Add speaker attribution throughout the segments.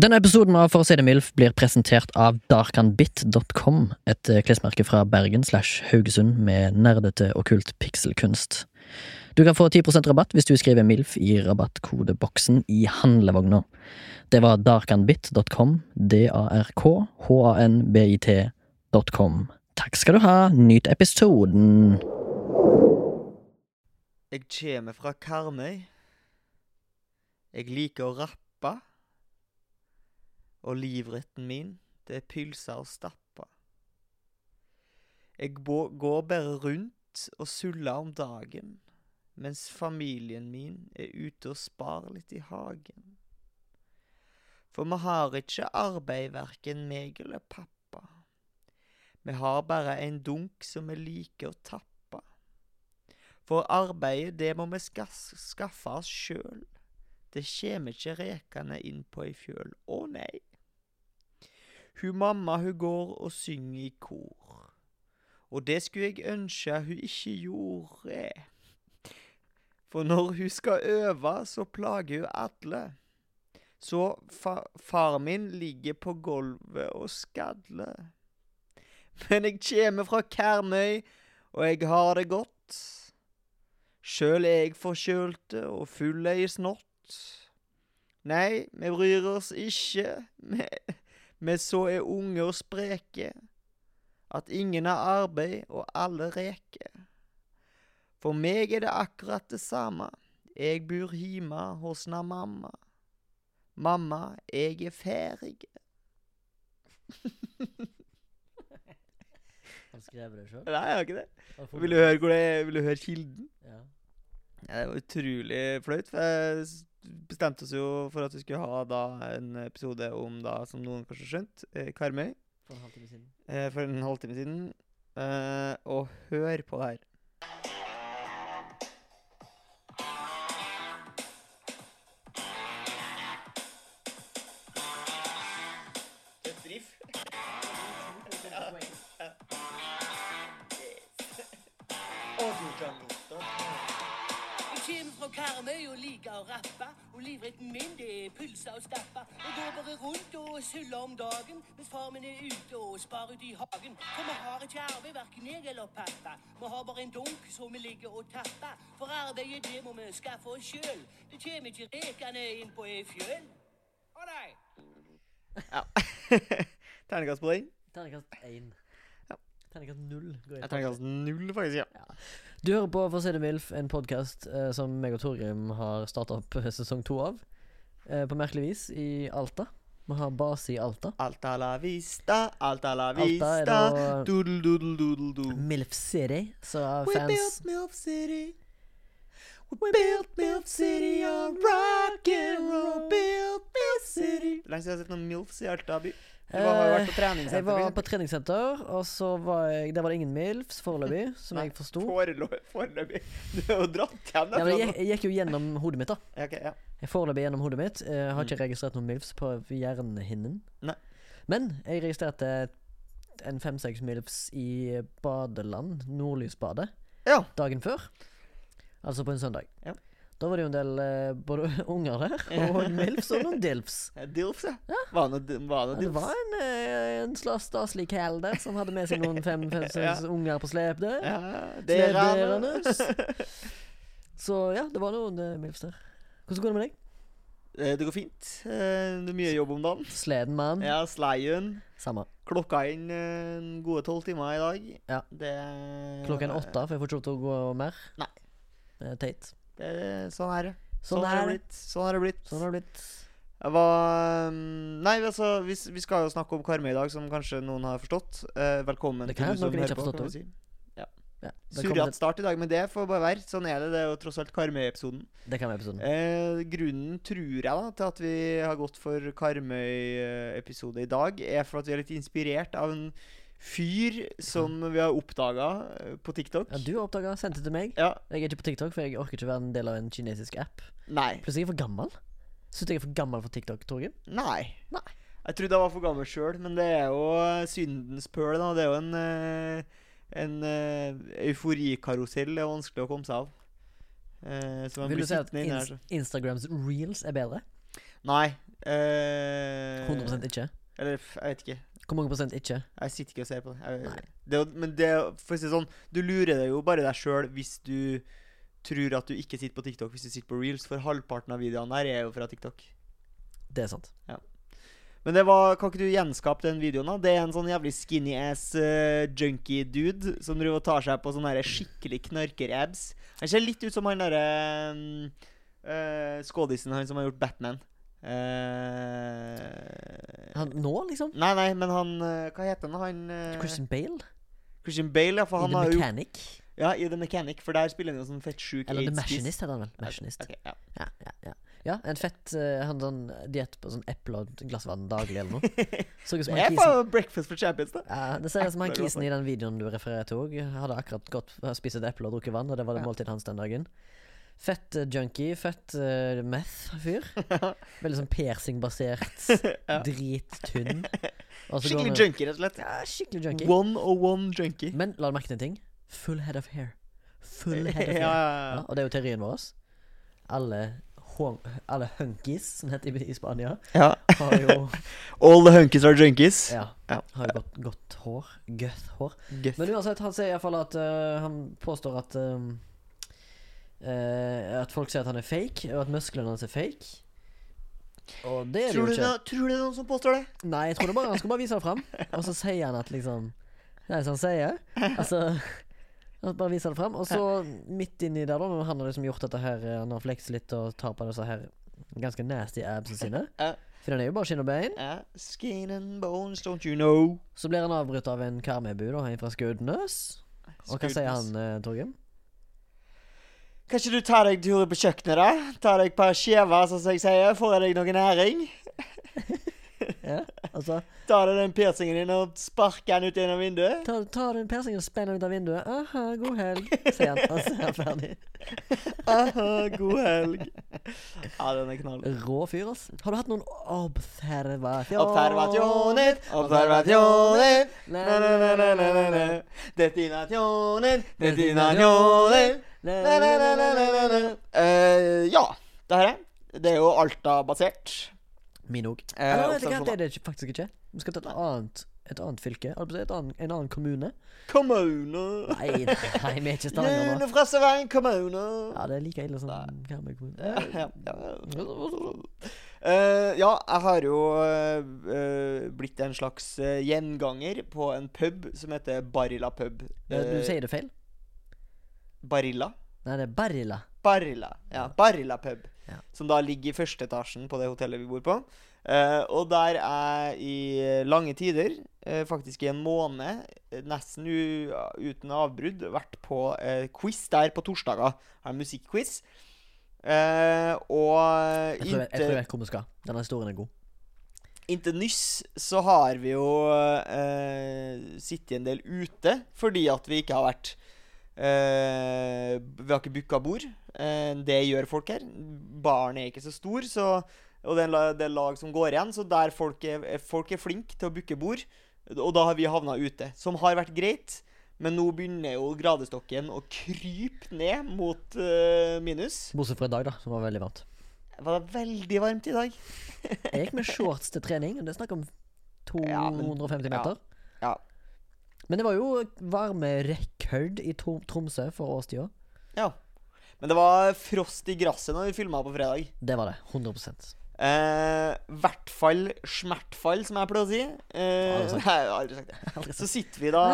Speaker 1: Denne episoden av For å si det mildt blir presentert av darkanbit.com, et eh, klesmerke fra Bergen slash Haugesund med nerdete okkult pikselkunst. Du kan få 10 rabatt hvis du skriver MILF i rabattkodeboksen i handlevogna. Det var darkanbit.com, d-a-r-k-h-a-n-b-i-t.com. Takk skal du ha, nyt episoden!
Speaker 2: Jeg kommer fra Karmøy. Jeg liker å rappe. Og livretten min, det er pylser og stappa. Jeg bå- går bare rundt og suller om dagen, mens familien min er ute og sparer litt i hagen. For vi har ikke arbeid, verken meg eller pappa. Vi har bare en dunk som vi liker å tappe. For arbeidet, det må vi skas- skaffe oss sjøl. Det kjem ikke rekene inn på ei fjøl. Å nei. Hun mamma, hun går og synger i kor. Og det skulle jeg ønske hun ikke gjorde. For når hun skal øve, så plager hun alle. Så fa far min ligger på gulvet og skadler. Men jeg kjem fra Karmøy, og jeg har det godt. Sjøl er jeg forkjølte og full i snott. Nei, vi bryr oss ikke, vi, vi så er unge og spreke, at ingen har arbeid og alle reker. For meg er det akkurat det samme, jeg bor hjemme hos na mamma. Mamma, jeg er ferdig.
Speaker 1: Har du skrevet det sjøl?
Speaker 2: Nei, jeg har ikke det. Vil du høre, hvor det, vil du høre kilden? Ja, det var utrolig flaut. For jeg s- bestemte oss jo for at vi skulle ha da en episode om, da, som noen kanskje har skjønt, eh, Karmøy. eh, For en halvtime siden. Eh, og hør på det her.
Speaker 3: Jeg kommer fra Karmøy og liker å rappe. Og livretten min det er pølser og stappa. Jeg går bare rundt og suller om dagen mens far min er ute og sparer ute i hagen. For vi har ikke arbeid, verken jeg eller pappa. Vi har bare en dunk som vi ligger og tapper. For arbeidet, det må vi skaffe oss sjøl. Det kommer ikke rekene inn på ei fjøl. Å nei!
Speaker 2: Ja. Ternekast på den.
Speaker 1: Terningkast én.
Speaker 2: Ja.
Speaker 1: Terningkast null.
Speaker 2: Jeg Ternekast null, faktisk. ja.
Speaker 1: Du hører på For å si det mildt, en podkast eh, som meg og Torgrim har starta opp eh, sesong to av. Eh, på merkelig vis i Alta. Vi har base i Alta.
Speaker 2: Alta la vista, alta la
Speaker 1: Alta er
Speaker 2: vista.
Speaker 1: da-
Speaker 2: Doodle, doodle, doodle, doodle.
Speaker 1: Milf City, så
Speaker 2: We
Speaker 1: fans
Speaker 2: built Milf City. We built Milf City on rock and roll. Built Milf City. Lenge siden jeg har sett noen Milfs i Alta by. Du Eh, var, har jo vært
Speaker 1: Jeg
Speaker 2: på treningssenter.
Speaker 1: var på treningssenter, og så var jeg Der var det ingen Milfs foreløpig, som
Speaker 2: Nei,
Speaker 1: jeg forsto.
Speaker 2: Forelå- Foreløpig. Du har jo dratt
Speaker 1: Ja,
Speaker 2: hjem derfra.
Speaker 1: men jeg,
Speaker 2: nå.
Speaker 1: gikk- jeg gikk jo gjennom hodet mitt, da.
Speaker 2: Ja, ok, ja.
Speaker 1: Jeg foreløpig gjennom hodet mitt. Eh, Jeg har ikke registrert noen milfs på jernhinnen.
Speaker 2: Nei.
Speaker 1: Men jeg registrerte en fem-seks milfs i badeland, Nordlysbadet,
Speaker 2: Ja.
Speaker 1: dagen før. Altså på en søndag.
Speaker 2: Ja.
Speaker 1: Da var det jo en del eh, både unger der, og en milfs og noen dilfs.
Speaker 2: Ja, Dilfs, ja. Var det noe- var det
Speaker 1: Ja, Det
Speaker 2: noe
Speaker 1: var
Speaker 2: Dilfs?
Speaker 1: en, eh, en slags staselig kæll der som hadde med seg noen fem-seks
Speaker 2: Ja.
Speaker 1: unger på slep der.
Speaker 2: Ja, det er
Speaker 1: Sledernes. Så ja, det var noen eh, milfs der. Hvordan går det med deg?
Speaker 2: Eh, Det går fint. Eh, Det er mye jobb om dagen.
Speaker 1: Sleden, mann.
Speaker 2: Ja, Sleien.
Speaker 1: Samme.
Speaker 2: Klokka inn eh, gode tolv timer i dag.
Speaker 1: Ja.
Speaker 2: Det
Speaker 1: Klokken åtte, for jeg får ikke lov til å gå mer.
Speaker 2: Nei.
Speaker 1: Det er teit.
Speaker 2: Det er, sånn er det.
Speaker 1: Sånn
Speaker 2: har
Speaker 1: er
Speaker 2: det
Speaker 1: det.
Speaker 2: blitt. Sånn har det blitt.
Speaker 1: Sånn har det blitt.
Speaker 2: Jeg var mm, Nei, altså, vi, s- vi skal jo snakke om Karmøy i dag, som kanskje noen har forstått. Eh, velkommen
Speaker 1: Det
Speaker 2: til
Speaker 1: kan
Speaker 2: du
Speaker 1: hende
Speaker 2: som
Speaker 1: noen ikke har
Speaker 2: hører på.
Speaker 1: forstått
Speaker 2: kan vi si.
Speaker 1: Ja,
Speaker 2: Surrete
Speaker 1: velkommen til,
Speaker 2: start i dag, men det får bare være. Sånn er det. Det er jo tross alt Karmøy-episoden.
Speaker 1: det kan være episoden.
Speaker 2: Eh, grunnen, tror jeg, da, til at vi har gått for Karmøy-episode i dag, er for at vi er litt inspirert av en fyr som vi har oppdaga på TikTok.
Speaker 1: Ja, du oppdaga, sendte til meg.
Speaker 2: Ja.
Speaker 1: Jeg er ikke på TikTok, for jeg orker ikke være en del av en kinesisk app.
Speaker 2: Nei.
Speaker 1: Plutselig er jeg for gammel. Syns du jeg er for gammel for TikTok, Torgrim?
Speaker 2: Nei.
Speaker 1: Nei.
Speaker 2: Jeg trodde jeg var for gammel sjøl, men det er jo syndens pøl. da. Det er jo en, eh, en eh, euforikarusell det er vanskelig å komme seg av. Eh, så man
Speaker 1: Vil
Speaker 2: blir
Speaker 1: du si at
Speaker 2: sittende inne
Speaker 1: ins
Speaker 2: her. så-
Speaker 1: Instagrams reels er bedre?
Speaker 2: Nei, Eh,
Speaker 1: 100 ikke.
Speaker 2: Eller f- jeg vet ikke.
Speaker 1: Hvor mange prosent ikke?
Speaker 2: Jeg sitter ikke og ser på det. Jeg,
Speaker 1: Nei.
Speaker 2: det er jo- men det, er- for å si det sånn, du lurer deg jo bare deg sjøl hvis du tror at du ikke sitter på TikTok hvis du sitter på reels, for halvparten av videoene her er jo fra TikTok.
Speaker 1: Det er sant.
Speaker 2: Men det var, kan ikke du gjenskape den videoen? da? Det er en sånn jævlig skinny ass eh, junkie dude som driver og tar seg på sånne her skikkelig knarker-abs. Han ser litt ut som han derre uh, skådisen han som har gjort Batman. Eh,
Speaker 1: Han, nå, liksom?
Speaker 2: Nei, nei, men han eh, Hva heter han? han eh,
Speaker 1: Christian Bale?
Speaker 2: Christian Bale, ja. For
Speaker 1: I
Speaker 2: han
Speaker 1: The
Speaker 2: har jo
Speaker 1: Mechanic?
Speaker 2: Ja, i The Mechanic, for der spiller han jo sånn fett sjuk
Speaker 1: Eller The
Speaker 2: AIDS-kiss.
Speaker 1: Machinist, heter han vel. Machinist.
Speaker 2: Ok, ja.
Speaker 1: Ja, ja, ja. ja, en fett eh, Han sånn diett på sånn eple og et glass vann daglig, eller noe. Så ut som han
Speaker 2: Det er
Speaker 1: kisen
Speaker 2: faen Breakfast for Champions, da.
Speaker 1: ja, Det ser ut som han
Speaker 2: Eple og
Speaker 1: kisen i den videoen du refererer til òg. Hadde akkurat gått spist et eple og drukket vann, og det var det
Speaker 2: Ja.
Speaker 1: måltidet hans den dagen. Fett eh, junkie, fett eh, meth-fyr. Veldig sånn piercingbasert,
Speaker 2: ja.
Speaker 1: drittynn. Og så går
Speaker 2: Skikkelig
Speaker 1: han-
Speaker 2: junkie, rett og slett.
Speaker 1: sånn, eh, Ja, skikkelig junkie.
Speaker 2: One og one junkie.
Speaker 1: Men la du merke til en ting? Full head of hair. Full
Speaker 2: Ja,
Speaker 1: head of hair.
Speaker 2: ja,
Speaker 1: Ja,
Speaker 2: ja.
Speaker 1: og det er jo teorien vår. Alle, hon- alle hunkies, som det heter i, i Spania,
Speaker 2: ja.
Speaker 1: har jo,
Speaker 2: All the hunkies are junkies.
Speaker 1: ja,
Speaker 2: Ja.
Speaker 1: har jo godt, godt hår. Gøth hår.
Speaker 2: Gøff.
Speaker 1: Men uansett, han sier iallfall at øh, Han påstår at øh, øh, At folk sier at han er fake, og at musklene hans er fake. Og det er
Speaker 2: Tror du,
Speaker 1: det jo
Speaker 2: det,
Speaker 1: ikke.
Speaker 2: tror du det er noen som påstår det?
Speaker 1: Nei, jeg tror det bare han skal bare vise det fram. Og så sier han at liksom Det er som han sier. Altså han Bare viser det fram. Og så midt inni der, da, når han har liksom gjort dette her eh, Han har flekset litt og tar på disse her ganske nasty absene sine.
Speaker 2: Ja.
Speaker 1: For den er jo bare skinn og bein.
Speaker 2: Ja. Skin and bones, don't you know?
Speaker 1: Så blir han avbrutt av en karmebu da, en fra Skudenes. Og hva sier han, eh, Torgrim?
Speaker 2: Kanskje du tar deg turer på kjøkkenet, da? Tar deg et par skjever, som jeg sier. Får jeg deg noe næring?
Speaker 1: Ja, altså
Speaker 2: Tar deg den piercingen din og sparker den ut gjennom vinduet?
Speaker 1: Ta, ta den persingen og spenn den ut av vinduet. Aha, god helg, sier han. Og så er han ferdig.
Speaker 2: Aha, god helg. Ja, den er knall.
Speaker 1: Rå fyr, ass. Har du hatt noen observasjoner?
Speaker 2: Observasjoner, observasjoner. Na-na-na-na-na-na. Destinasjoner, destinasjoner. Na-na-na-na-na-na. Eh, ja, det her er. Det er jo Alta-basert.
Speaker 1: Min òg.
Speaker 2: Eh,
Speaker 1: Eller vet du hva, det
Speaker 2: observasjoner.
Speaker 1: er det ikke- faktisk ikke. Vi skal til et annet, et annet fylke. holdt på å si, Et annet, en annen kommune.
Speaker 2: Kommune.
Speaker 1: Nei, nei, vi er ikke i Stavanger nå.
Speaker 2: June fra Sevang kommune.
Speaker 1: Ja, det er like ille som Karmøy kommune.
Speaker 2: ja, ja. Eh, ja, jeg har jo eh, eh, blitt en slags eh, gjenganger på en pub som heter Barilla pub.
Speaker 1: Ja, Du
Speaker 2: Eh,
Speaker 1: sier det feil.
Speaker 2: Barilla?
Speaker 1: Nei, det er Barilla.
Speaker 2: Barilla. Ja, Barilla pub.
Speaker 1: Ja.
Speaker 2: Som da ligger i første etasjen på det hotellet vi bor på. Eh, og der er i lange tider, eh, faktisk i en måned, eh, nesten u uten avbrudd, vært på eh, quiz der på torsdager. Har en musikkquiz. Eh, og
Speaker 1: Jeg tror jeg, jeg
Speaker 2: inntil-
Speaker 1: tror jeg vet hvor vi skal. Denne historien er god.
Speaker 2: Inntil nyss så har vi jo eh, sittet en del ute fordi at vi ikke har vært eh, Vi har ikke booka bord. Eh, det gjør folk her. Baren er ikke så stor, så, og det er, en la- det er lag som går igjen. Så der folk er, er- folk er flinke til å booke bord, og da har vi havna ute. Som har vært greit, men nå begynner jo gradestokken å krype ned mot eh, minus.
Speaker 1: Bortsett fra i dag, da, som var veldig varmt.
Speaker 2: Det var veldig varmt i dag.
Speaker 1: Jeg gikk med shorts til trening, og det er snakk om
Speaker 2: Ja, men-
Speaker 1: 250 meter.
Speaker 2: Ja.
Speaker 1: Men det var jo varmerekord i Tro- Tromsø for årstida.
Speaker 2: Ja. Men det var frost i gresset når vi filma på fredag.
Speaker 1: Det var det. 100
Speaker 2: Eh, hvert fall smertfall, som jeg pleier å si. Eh,
Speaker 1: Har du sagt?
Speaker 2: nei, jeg har aldri sagt det.
Speaker 1: Aldri
Speaker 2: Så sitter vi da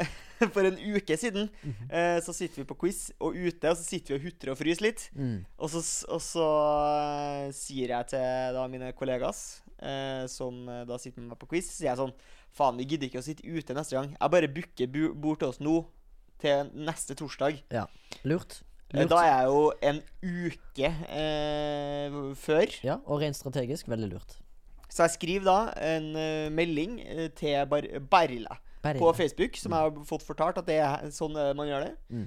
Speaker 2: eh, For en uke siden eh, så sitter vi på quiz og ute, og så sitter vi og hutrer og fryser litt.
Speaker 1: Mm.
Speaker 2: Og så, s- og så eh, sier jeg til da mine kollegas, eh, som eh, da sitter med meg på quiz, så sier jeg sånn Faen, vi gidder ikke å sitte ute neste gang. Jeg bare booker bu- bord til oss nå, til neste torsdag.
Speaker 1: Ja. Lurt.
Speaker 2: Eh,
Speaker 1: Lurt.
Speaker 2: Da er jeg jo en uke eh, før.
Speaker 1: Ja, og rent strategisk, veldig lurt.
Speaker 2: Så jeg skriver da en eh, melding eh, til Bar Barilla
Speaker 1: Barilla.
Speaker 2: på Facebook, som jeg har fått fortalt at det er sånn eh, man gjør det.
Speaker 1: Mm.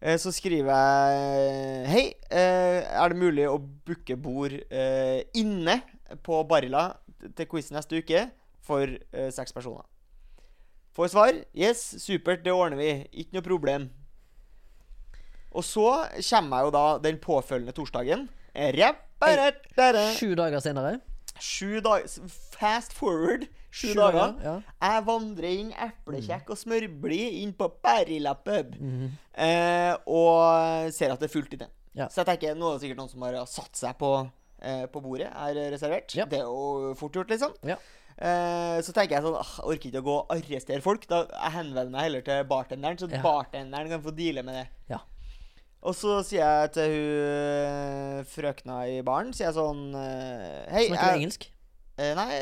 Speaker 2: Eh, Så skriver jeg Hei, eh, er det mulig å booke bord eh, inne på Barilla til quiz neste uke for eh, seks personer? Får svar. Yes, supert, det ordner vi. Ikke noe problem. Og så kommer jeg jo da den påfølgende torsdagen. Eh, rapp, rapp, rapp, rapp.
Speaker 1: Sju dager senere
Speaker 2: Sju dager Fast forward. Sju,
Speaker 4: Sju
Speaker 2: dager.
Speaker 4: dager, ja.
Speaker 2: Jeg vandrer inn eplekjekk og smørblid inn på Berilla pub eh, og ser at det er fullt i den.
Speaker 4: Mhm. Ja.
Speaker 2: Så jeg tenker nå er det sikkert noen som har satt seg på, eh, på bordet, er reservert.
Speaker 4: Ja.
Speaker 2: Det er jo fort gjort, liksom.
Speaker 4: Ja.
Speaker 2: Eh, så tenker jeg sånn ah, Jeg orker ikke å gå og arrestere folk. Da jeg henvender meg heller til bartenderen, så
Speaker 4: Ja.
Speaker 2: bartenderen kan få deale med det.
Speaker 4: Ja.
Speaker 2: Og så sier jeg til hun frøkna i baren sier jeg sånn eh, Hei,
Speaker 4: Snakker du
Speaker 2: jeg-
Speaker 4: engelsk?
Speaker 2: Eh, nei,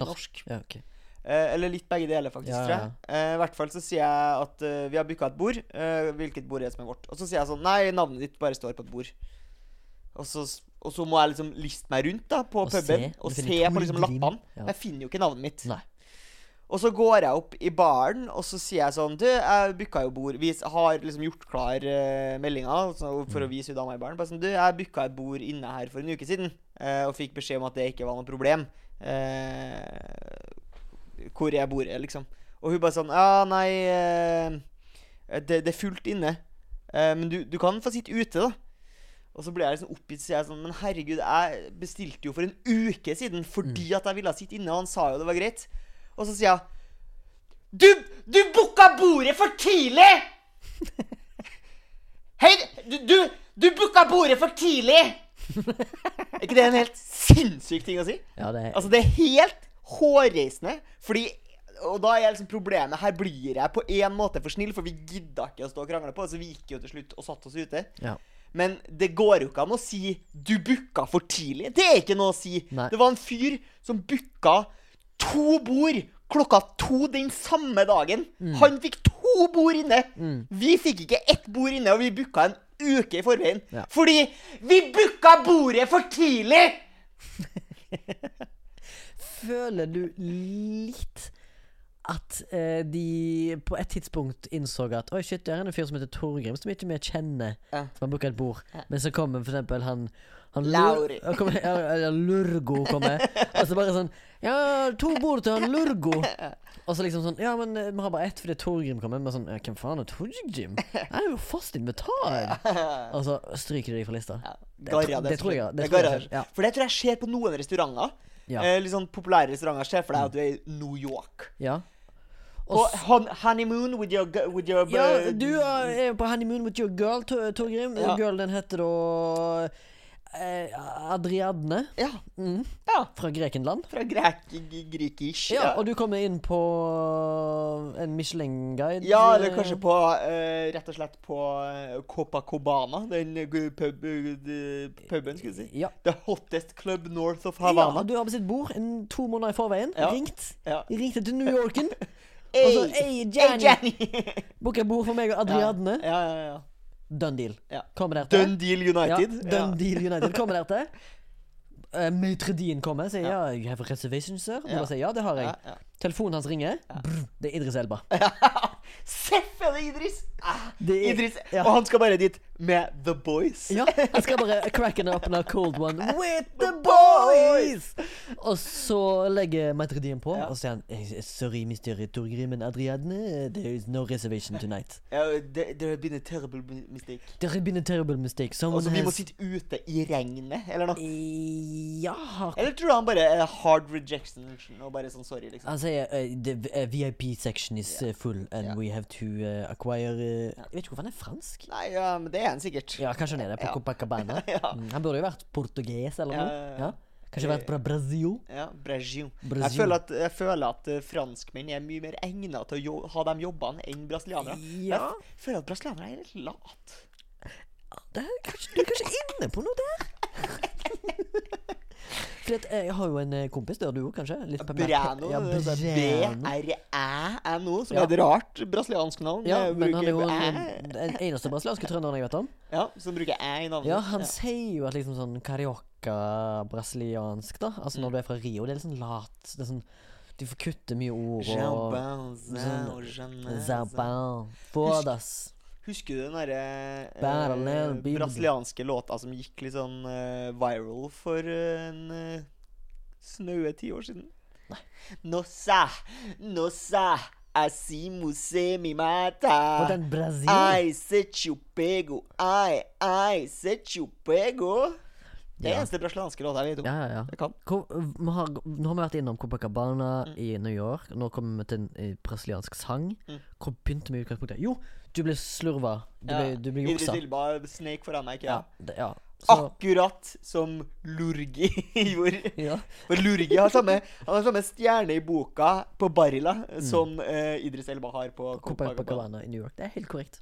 Speaker 2: norsk.
Speaker 4: Ja, ok.
Speaker 2: Eh, eller litt begge deler, faktisk,
Speaker 4: Ja,
Speaker 2: tror
Speaker 4: ja,
Speaker 2: jeg. Eh, I hvert fall så sier jeg at eh, vi har booka et bord. Eh, hvilket bord er det som er vårt? Og så sier jeg sånn Nei, navnet ditt bare står på et bord. Og så, og så må jeg liksom liste meg rundt da på
Speaker 4: Og se.
Speaker 2: puben og
Speaker 4: Du
Speaker 2: se
Speaker 4: finner
Speaker 2: på
Speaker 4: Tor
Speaker 2: liksom
Speaker 4: Grim.
Speaker 2: lappene.
Speaker 4: Ja.
Speaker 2: Jeg finner jo ikke navnet mitt.
Speaker 4: Nei.
Speaker 2: Og så går jeg opp i baren og så sier jeg sånn Du, jeg booka jo bord. Vi s- har liksom gjort klar uh, meldinga så- for å
Speaker 4: Mm.
Speaker 2: vise hun dama i baren. Bare sånn, du, jeg booka et bord inne her for en uke siden eh, og fikk beskjed om at det ikke var noe problem. Eh, hvor jeg bor, liksom. Og hun bare sånn Ja, nei eh, det, det er fullt inne. Eh, men du, du kan få sitte ute, da. Og så ble jeg liksom oppgitt, så jeg sånn Men herregud, jeg bestilte jo for en uke siden fordi at jeg ville sitte inne, og han sa jo det var greit. Og så sier jeg Du, du booka bordet for tidlig! Hei, du, du, du booka bordet for tidlig! Er ikke det en helt sinnssyk ting å si?
Speaker 4: Ja, det er
Speaker 2: Altså, det er helt hårreisende, fordi Og da er liksom problemet Her blir jeg på en måte for snill, for vi gidda ikke å stå og krangle på, så vi gikk jo til slutt og satte oss ute.
Speaker 4: ja.
Speaker 2: Men det går jo ikke an å si 'du booka for tidlig'. Det er ikke noe å si.
Speaker 4: Nei.
Speaker 2: Det var en fyr som booka to bord klokka to den samme dagen.
Speaker 1: Mm.
Speaker 2: Han fikk to bord inne. Vi fikk ikke ett bord inne, og vi booka en uke i forveien.
Speaker 4: Ja.
Speaker 2: Fordi vi booka bordet for tidlig!
Speaker 1: Føler du litt at eh, de på et tidspunkt innså at Oi, shit, der er en fyr som heter Torgrim, som ikke vi kjenner,
Speaker 2: Ja.
Speaker 1: som har booka et bord. Men så kommer for eksempel han, han
Speaker 2: Lauri.
Speaker 1: Lur- han kommer, ja, ja, Lurgo kommer. og så bare sånn Ja, to bord til han Lurgo. Og så liksom sånn Ja, men eh, vi har bare ett fordi Torgrim kommer. Men sånn ja, Hvem faen er Torgrim? Han er jo fast invitar. Og så stryker de deg fra lista. Det,
Speaker 2: Garra,
Speaker 1: tro- det tror jeg. Det
Speaker 2: er
Speaker 1: tror
Speaker 2: garra.
Speaker 1: jeg ja.
Speaker 2: For det tror jeg skjer på noen restauranter.
Speaker 1: Ja. Mm.
Speaker 2: Eh, litt sånn populære restauranter. Se for deg at du er i New York.
Speaker 1: ja.
Speaker 2: På hon honeymoon with your, gu- with your
Speaker 1: Ja, du eh, er er på honeymoon with your girl, Tor- Torgrim.
Speaker 2: Ja.
Speaker 1: Girl, den heter da eh, Adriadne
Speaker 2: Ja.
Speaker 1: Mm.
Speaker 2: ja.
Speaker 1: fra Grekenland.
Speaker 2: Fra grek, g- grekish.
Speaker 1: Ja, Og du kommer inn på eh, en Michelin-guide.
Speaker 2: ja, eller kanskje på eh, Rett og slett på eh, Copacabana, den eh, gu- pub, eh, de- puben, skulle jeg si.
Speaker 1: Ja.
Speaker 2: The hottest club north of
Speaker 1: Ja,
Speaker 2: Havana.
Speaker 1: du har bestilt bord en, to måneder i forveien.
Speaker 2: Ja.
Speaker 1: Ringt.
Speaker 2: Ja.
Speaker 1: Ringte til New Yorken.
Speaker 2: Hey,
Speaker 1: Og så Hey, Jenny!
Speaker 2: Jenny!
Speaker 1: Booker bord for meg og
Speaker 2: ja,
Speaker 1: Adriadne.
Speaker 2: ja, ja, ja.
Speaker 1: Done deal.
Speaker 2: Ja.
Speaker 1: Kommer der til.
Speaker 2: Done deal United.
Speaker 1: Ja, Done Deal United kommer der til. Uh, Maitre Dien kommer sier ja. 'You have a reservation, sir?' Du
Speaker 2: Ja.
Speaker 1: bare sier ja, det har jeg.
Speaker 2: Ja, ja.
Speaker 1: Telefonen hans ringer. Brr, det er Idris Elba.
Speaker 2: Seff er det Idris! Ah,
Speaker 1: Det er-
Speaker 2: Idris.
Speaker 1: ja.
Speaker 2: Og han skal bare dit med The Boys.
Speaker 1: Ja, han skal bare cracken up a cold one with the boys!
Speaker 2: boys!
Speaker 1: Og så legger Maitre Dien på,
Speaker 2: Ja.
Speaker 1: og så sier han «Eh, 'Sorry, Mr. Torgrim and Adriadne, there is no reservation tonight'.
Speaker 2: Ja, there, there have been a terrible mistake.
Speaker 1: There has been a terrible mistake. Someone
Speaker 2: Altså, vi må
Speaker 1: has
Speaker 2: sitte ute i regnet, eller noe.
Speaker 1: Ja.
Speaker 2: Eller tror du han bare er hard rejection og bare sånn sorry, liksom.
Speaker 1: Han sier eh, the eh, VIP section is eh, full, and
Speaker 2: Ja.
Speaker 1: we have to eh, acquire eh, Jeg vet ikke hvorfor han er fransk.
Speaker 2: Nei, ja, men det er han sikkert.
Speaker 1: Ja, kanskje han er det, på
Speaker 2: Ja.
Speaker 1: Copacabana.
Speaker 2: Ja.
Speaker 1: Mm, Han burde jo vært portugies eller
Speaker 2: Ja,
Speaker 1: noe.
Speaker 2: ja, ja.
Speaker 1: Ja. Kanskje vært fra Brasil.
Speaker 2: Ja, Brasil. Jeg
Speaker 1: Brasil.
Speaker 2: føler at, jeg føler at eh, franskmenn er mye mer egnet til å jo ha de jobbene enn brasilianere.
Speaker 1: Ja.
Speaker 2: Jeg f- føler at brasilianere er litt lat.
Speaker 1: Det er kanskje, du er kanskje inne på noe der? Fordi at eh, jeg har jo en eh, kompis, det har du òg, kanskje? Litt mer-
Speaker 2: Breno.
Speaker 1: Ja,
Speaker 2: altså,
Speaker 1: Breno.
Speaker 2: B-R-æ-no, E som
Speaker 1: Ja.
Speaker 2: er et rart brasiliansk navn.
Speaker 1: Ja,
Speaker 2: eh,
Speaker 1: men han er jo
Speaker 2: bruker
Speaker 1: den
Speaker 2: æ.
Speaker 1: den eneste brasilianske trønderen jeg vet om.
Speaker 2: Ja, som bruker æ i navnet.
Speaker 1: Ja, han sier jo at liksom sånn carioca-brasiliansk, da. Altså når du er fra Rio, det er litt sånn lat. Det er sånn, du får kutte mye ord og
Speaker 2: Jabba, zao,
Speaker 1: altså.
Speaker 2: jana, zao.
Speaker 1: Zabao. Fodas.
Speaker 2: Husker du den derre
Speaker 1: Battle
Speaker 2: eh,
Speaker 1: and Beyond.
Speaker 2: brasilianske låta som gikk litt sånn eh, viral for eh, en eh, snaue ti år siden? Nossa, nossa, asimu se mi
Speaker 1: Og
Speaker 2: mata.
Speaker 1: den Brasil
Speaker 2: Ai, se te pego, ai, ai, se te pego. Det er
Speaker 4: Ja.
Speaker 2: eneste brasilianske låta jeg vet om.
Speaker 4: Ja, ja, ja.
Speaker 2: Jeg kan.
Speaker 1: Hvor, vi har, nå har vi vært innom Copacabana i New York. Nå kommer vi til en eh, brasiliansk sang.
Speaker 2: Mm.
Speaker 1: Hvor begynte vi i utgangspunktet? Jo, du ble slurva. Du,
Speaker 2: Ja.
Speaker 1: ble, du ble juksa.
Speaker 2: Idris Elba snek foran meg, ikke
Speaker 1: Ja,
Speaker 2: sant?
Speaker 1: det, ja. Så,
Speaker 2: Ah! Akkurat som Lurgi gjorde.
Speaker 1: ja.
Speaker 2: For Lurgi har samme, han har samme stjerne i boka på Barilla som
Speaker 1: Mm.
Speaker 2: eh, Idris Elba har på Copacabana.
Speaker 1: Copacabana i New York. Det er helt korrekt.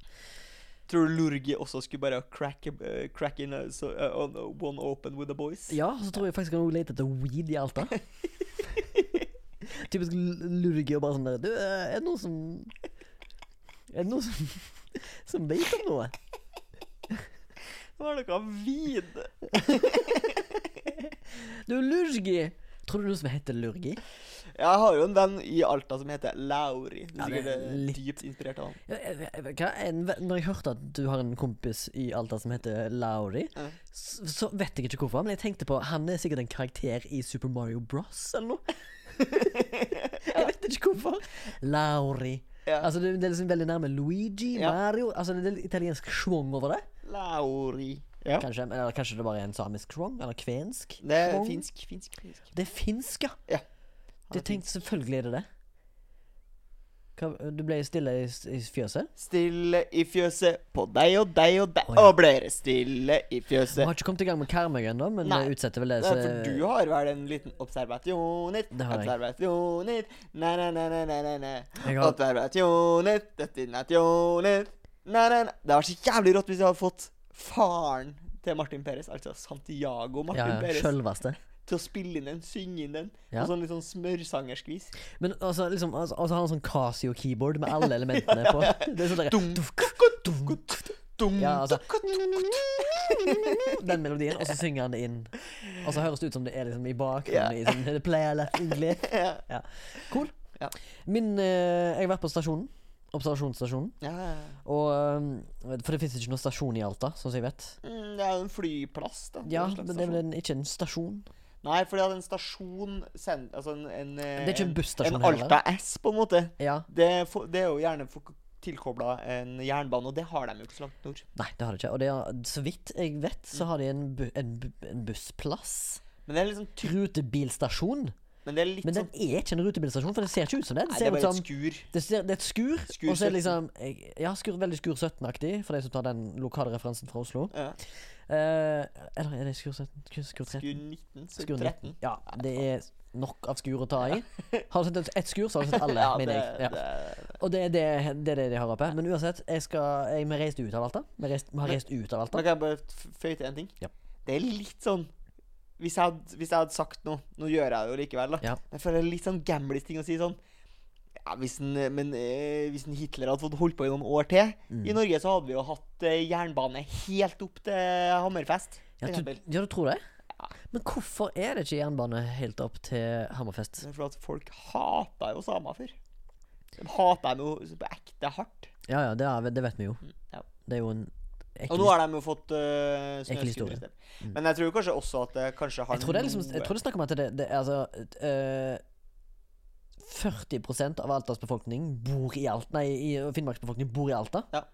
Speaker 2: Tror du Lurgi også skulle bare crack, eh, crack in eh, so, eh, on one open with the boys?
Speaker 1: Ja, så tror jeg faktisk han også leter etter weed i Alta. Typisk lurgi og bare sånn der Du, eh, er det noen som Er det noen som, som vet om noe?
Speaker 2: Det var noe vid.
Speaker 1: Du, lurgi! Tror du noe som heter lurgi?
Speaker 2: Jeg har jo en venn i Alta som heter Lauri. Du
Speaker 1: Ja,
Speaker 2: er
Speaker 1: det
Speaker 2: sikkert
Speaker 1: er
Speaker 2: eh,
Speaker 1: litt-
Speaker 2: dypt inspirert av han.
Speaker 1: Ja, jeg- jeg- jeg- Hva, en, ve- når jeg hørte at du har en kompis i Alta som heter Lauri,
Speaker 2: Ja.
Speaker 1: så, så vet jeg ikke hvorfor, men jeg tenkte på han er sikkert en karakter i Super Mario Bros. eller noe. jeg vet ikke hvorfor. Lauri.
Speaker 2: Ja.
Speaker 1: Altså det, det er liksom veldig nærme Luigi,
Speaker 2: Ja.
Speaker 1: Mario Altså Det er litt italiensk schwung over det.
Speaker 2: Lauri. Ja.
Speaker 1: Kanskje, eller kanskje det bare er en samisk schwung? Eller kvensk?
Speaker 2: Det er
Speaker 1: schwung?
Speaker 2: finsk. Finsk. finsk.
Speaker 1: Det er finsk, ja.
Speaker 2: Ja.
Speaker 1: Det tenkte, selvfølgelig er det det. Hva, du ble stille i, i fjøset?
Speaker 2: Stille i fjøset på deg og deg og deg.
Speaker 1: Å, ja.
Speaker 2: Og ble det stille i
Speaker 1: Vi
Speaker 2: fjøset.
Speaker 1: har ikke kommet i gang med Karmøy ennå, men
Speaker 2: Nei.
Speaker 1: det utsetter vel det. eh,
Speaker 2: Nei, for du har vel en liten observasjoner.
Speaker 1: Altså, Det har jeg.
Speaker 2: Observasjoner. Nei, nei, nei, nei, nei, nei, nei.
Speaker 1: Jeg har-
Speaker 2: Observasjoner. Destinasjoner. Nei, nei, nei. Det var så jævlig rått hvis jeg hadde fått faren til Martin Perez, altså Santiago
Speaker 1: ja,
Speaker 2: Martin
Speaker 1: ja,
Speaker 2: Perez,
Speaker 1: Sjølveste.
Speaker 2: til å spille inn den, synge inn den,
Speaker 1: Ja.
Speaker 2: på sånn litt sånn smørsangersk vis.
Speaker 1: Men altså, liksom, altså, altså har han sånn Casio-keyboard med alle elementene på. Det er sånn der,
Speaker 2: Dum,
Speaker 1: dufk,
Speaker 2: dukk,
Speaker 1: dum.
Speaker 2: dukk, dum,
Speaker 1: Ja, altså.
Speaker 2: dukk, dukk,
Speaker 1: Den melodien, og så synger han det inn. Og så høres det ut som det er liksom i
Speaker 2: Ja.
Speaker 1: bakgrunnen. I sånn, "The player left English.
Speaker 2: Ja,
Speaker 1: Ja. Cool.
Speaker 2: Ja.
Speaker 1: Min, eh, jeg har vært på stasjonen. Observasjonsstasjonen.
Speaker 2: ja, ja.
Speaker 1: Og, eh, for det fins ikke noen stasjon i Alta, sånn som jeg vet.
Speaker 2: Mm, Det er jo en flyplass, da.
Speaker 1: Ja,
Speaker 2: en
Speaker 1: men
Speaker 2: slags
Speaker 1: det er
Speaker 2: stasjon.
Speaker 1: vel en, ikke en stasjon.
Speaker 2: Nei, for de hadde en stasjon send, altså en, en,
Speaker 1: Det er ikke en busstasjon
Speaker 2: En
Speaker 1: heller.
Speaker 2: Alta S, på en måte.
Speaker 1: Ja,
Speaker 2: Det, er fo- det er jo gjerne tilkobla en jernbane, og det har de jo ikke så langt nord.
Speaker 1: Nei, det har det ikke. Og det er, så vidt jeg vet, så har de en, bu en, bu en bussplass.
Speaker 2: Men det er liksom ty
Speaker 1: Rutebilstasjon.
Speaker 2: Men det er litt
Speaker 1: Men
Speaker 2: sånn
Speaker 1: den er ikke en rutebilstasjon, for det ser ikke ut som det. Det,
Speaker 2: Nei, det
Speaker 1: ser
Speaker 2: er
Speaker 1: ut
Speaker 2: bare
Speaker 1: som,
Speaker 2: et skur.
Speaker 1: det, ser, det er et skur,
Speaker 2: Skur
Speaker 1: og så er det liksom Ja, skur, veldig Skur 17-aktig, for de som tar den lokale referansen fra Oslo.
Speaker 2: Ja.
Speaker 1: Eh, eller er det Skur 17? Skur, skur 13?
Speaker 2: Skur 19, så
Speaker 1: Skur
Speaker 2: 13.
Speaker 1: 19. Ja, det er nok av skur å ta i. Har du sett ett skur, så har du sett alle,
Speaker 2: Ja, det,
Speaker 1: mener jeg. Ja.
Speaker 2: det,
Speaker 1: Og det er det, det er det de har oppe. Men uansett, jeg skal jeg, vi reiste ut av Alta. Vi, reist, vi har
Speaker 2: Men-
Speaker 1: reist ut av
Speaker 2: Men
Speaker 1: Alta.
Speaker 2: kan jeg bare f- føye til en ting?
Speaker 1: Ja.
Speaker 2: Det er litt sånn hvis jeg, hadde, hvis jeg hadde sagt noe Nå gjør jeg det jo likevel, da.
Speaker 1: Ja.
Speaker 2: Men jeg føler det er litt sånn gamlis-ting å si sånn ja, hvis en, men eh, hvis en Hitler hadde fått holdt på i noen år til
Speaker 1: Mm.
Speaker 2: I Norge så hadde vi jo hatt eh, jernbane helt opp til Hammerfest.
Speaker 1: Ja,
Speaker 2: For
Speaker 1: du,
Speaker 2: eksempel.
Speaker 1: ja, du tror det? Men hvorfor er det ikke jernbane helt opp til Hammerfest?
Speaker 2: Det er fordi at folk hata jo samer før. De hata dem jo på ekte hardt.
Speaker 1: Ja, ja, det, er, det vet vi jo.
Speaker 2: Mm, ja.
Speaker 1: Det er jo en
Speaker 2: Og
Speaker 1: ekkel
Speaker 2: nå har de jo fått uh,
Speaker 1: Ekkel historie. Mm.
Speaker 2: snøskudd. Men jeg tror kanskje også at det kanskje har
Speaker 1: Jeg tror det er liksom Jeg
Speaker 2: noe-
Speaker 1: tror det snakker om at det, det er altså eh, 40 av Altas befolkning bor i Alta Nei, i Finnmarks befolkning bor i Alta.
Speaker 2: Ja.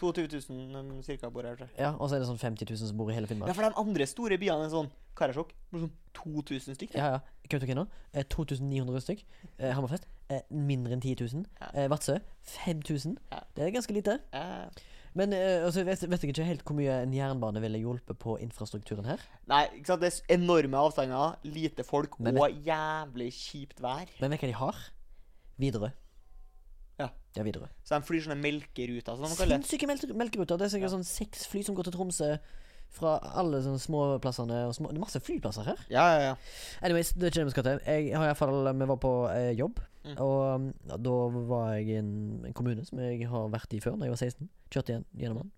Speaker 2: 22 000 ca. eh, bor her. tror jeg.
Speaker 1: Ja, Og så er det sånn 50 000 som bor i hele
Speaker 2: Ja,
Speaker 1: Finnmark.
Speaker 2: for de andre store byene er sånn Karasjok. det blir Sånn 2000 stykk.
Speaker 1: Ja, ja. Kautokeino eh, 2900 stykk. Eh, Hammerfest eh, mindre enn 10 000.
Speaker 2: Ja.
Speaker 1: Eh, Vadsø 5000.
Speaker 2: Ja.
Speaker 1: Det er ganske lite.
Speaker 2: Eh,
Speaker 1: Men eh, altså, vet, vet jeg ikke helt hvor mye en jernbane ville hjulpet på infrastrukturen her.
Speaker 2: Nei, ikke sant? det er s- enorme avstander, lite folk
Speaker 1: Men-
Speaker 2: og jævlig kjipt vær.
Speaker 1: Men vet du hva de har? Widerøe.
Speaker 2: Ja.
Speaker 1: Ja, Widerøe.
Speaker 2: Så de flyr sånne melkeruter, som de kaller det.
Speaker 1: Sinnssyke melke melkeruter. Det er sikkert sånn seks fly som går til Tromsø fra alle sånne små plassene. Og små, det er masse flyplasser her.
Speaker 2: Ja, ja, ja.
Speaker 1: Anyways, det er ikke det vi skal til. Jeg har i hvert fall, Vi var på eh, jobb,
Speaker 2: Mm.
Speaker 1: og um, ja, da var jeg i en, en kommune som jeg har vært i før, da jeg var 16. Kjørte igjen gjennom den.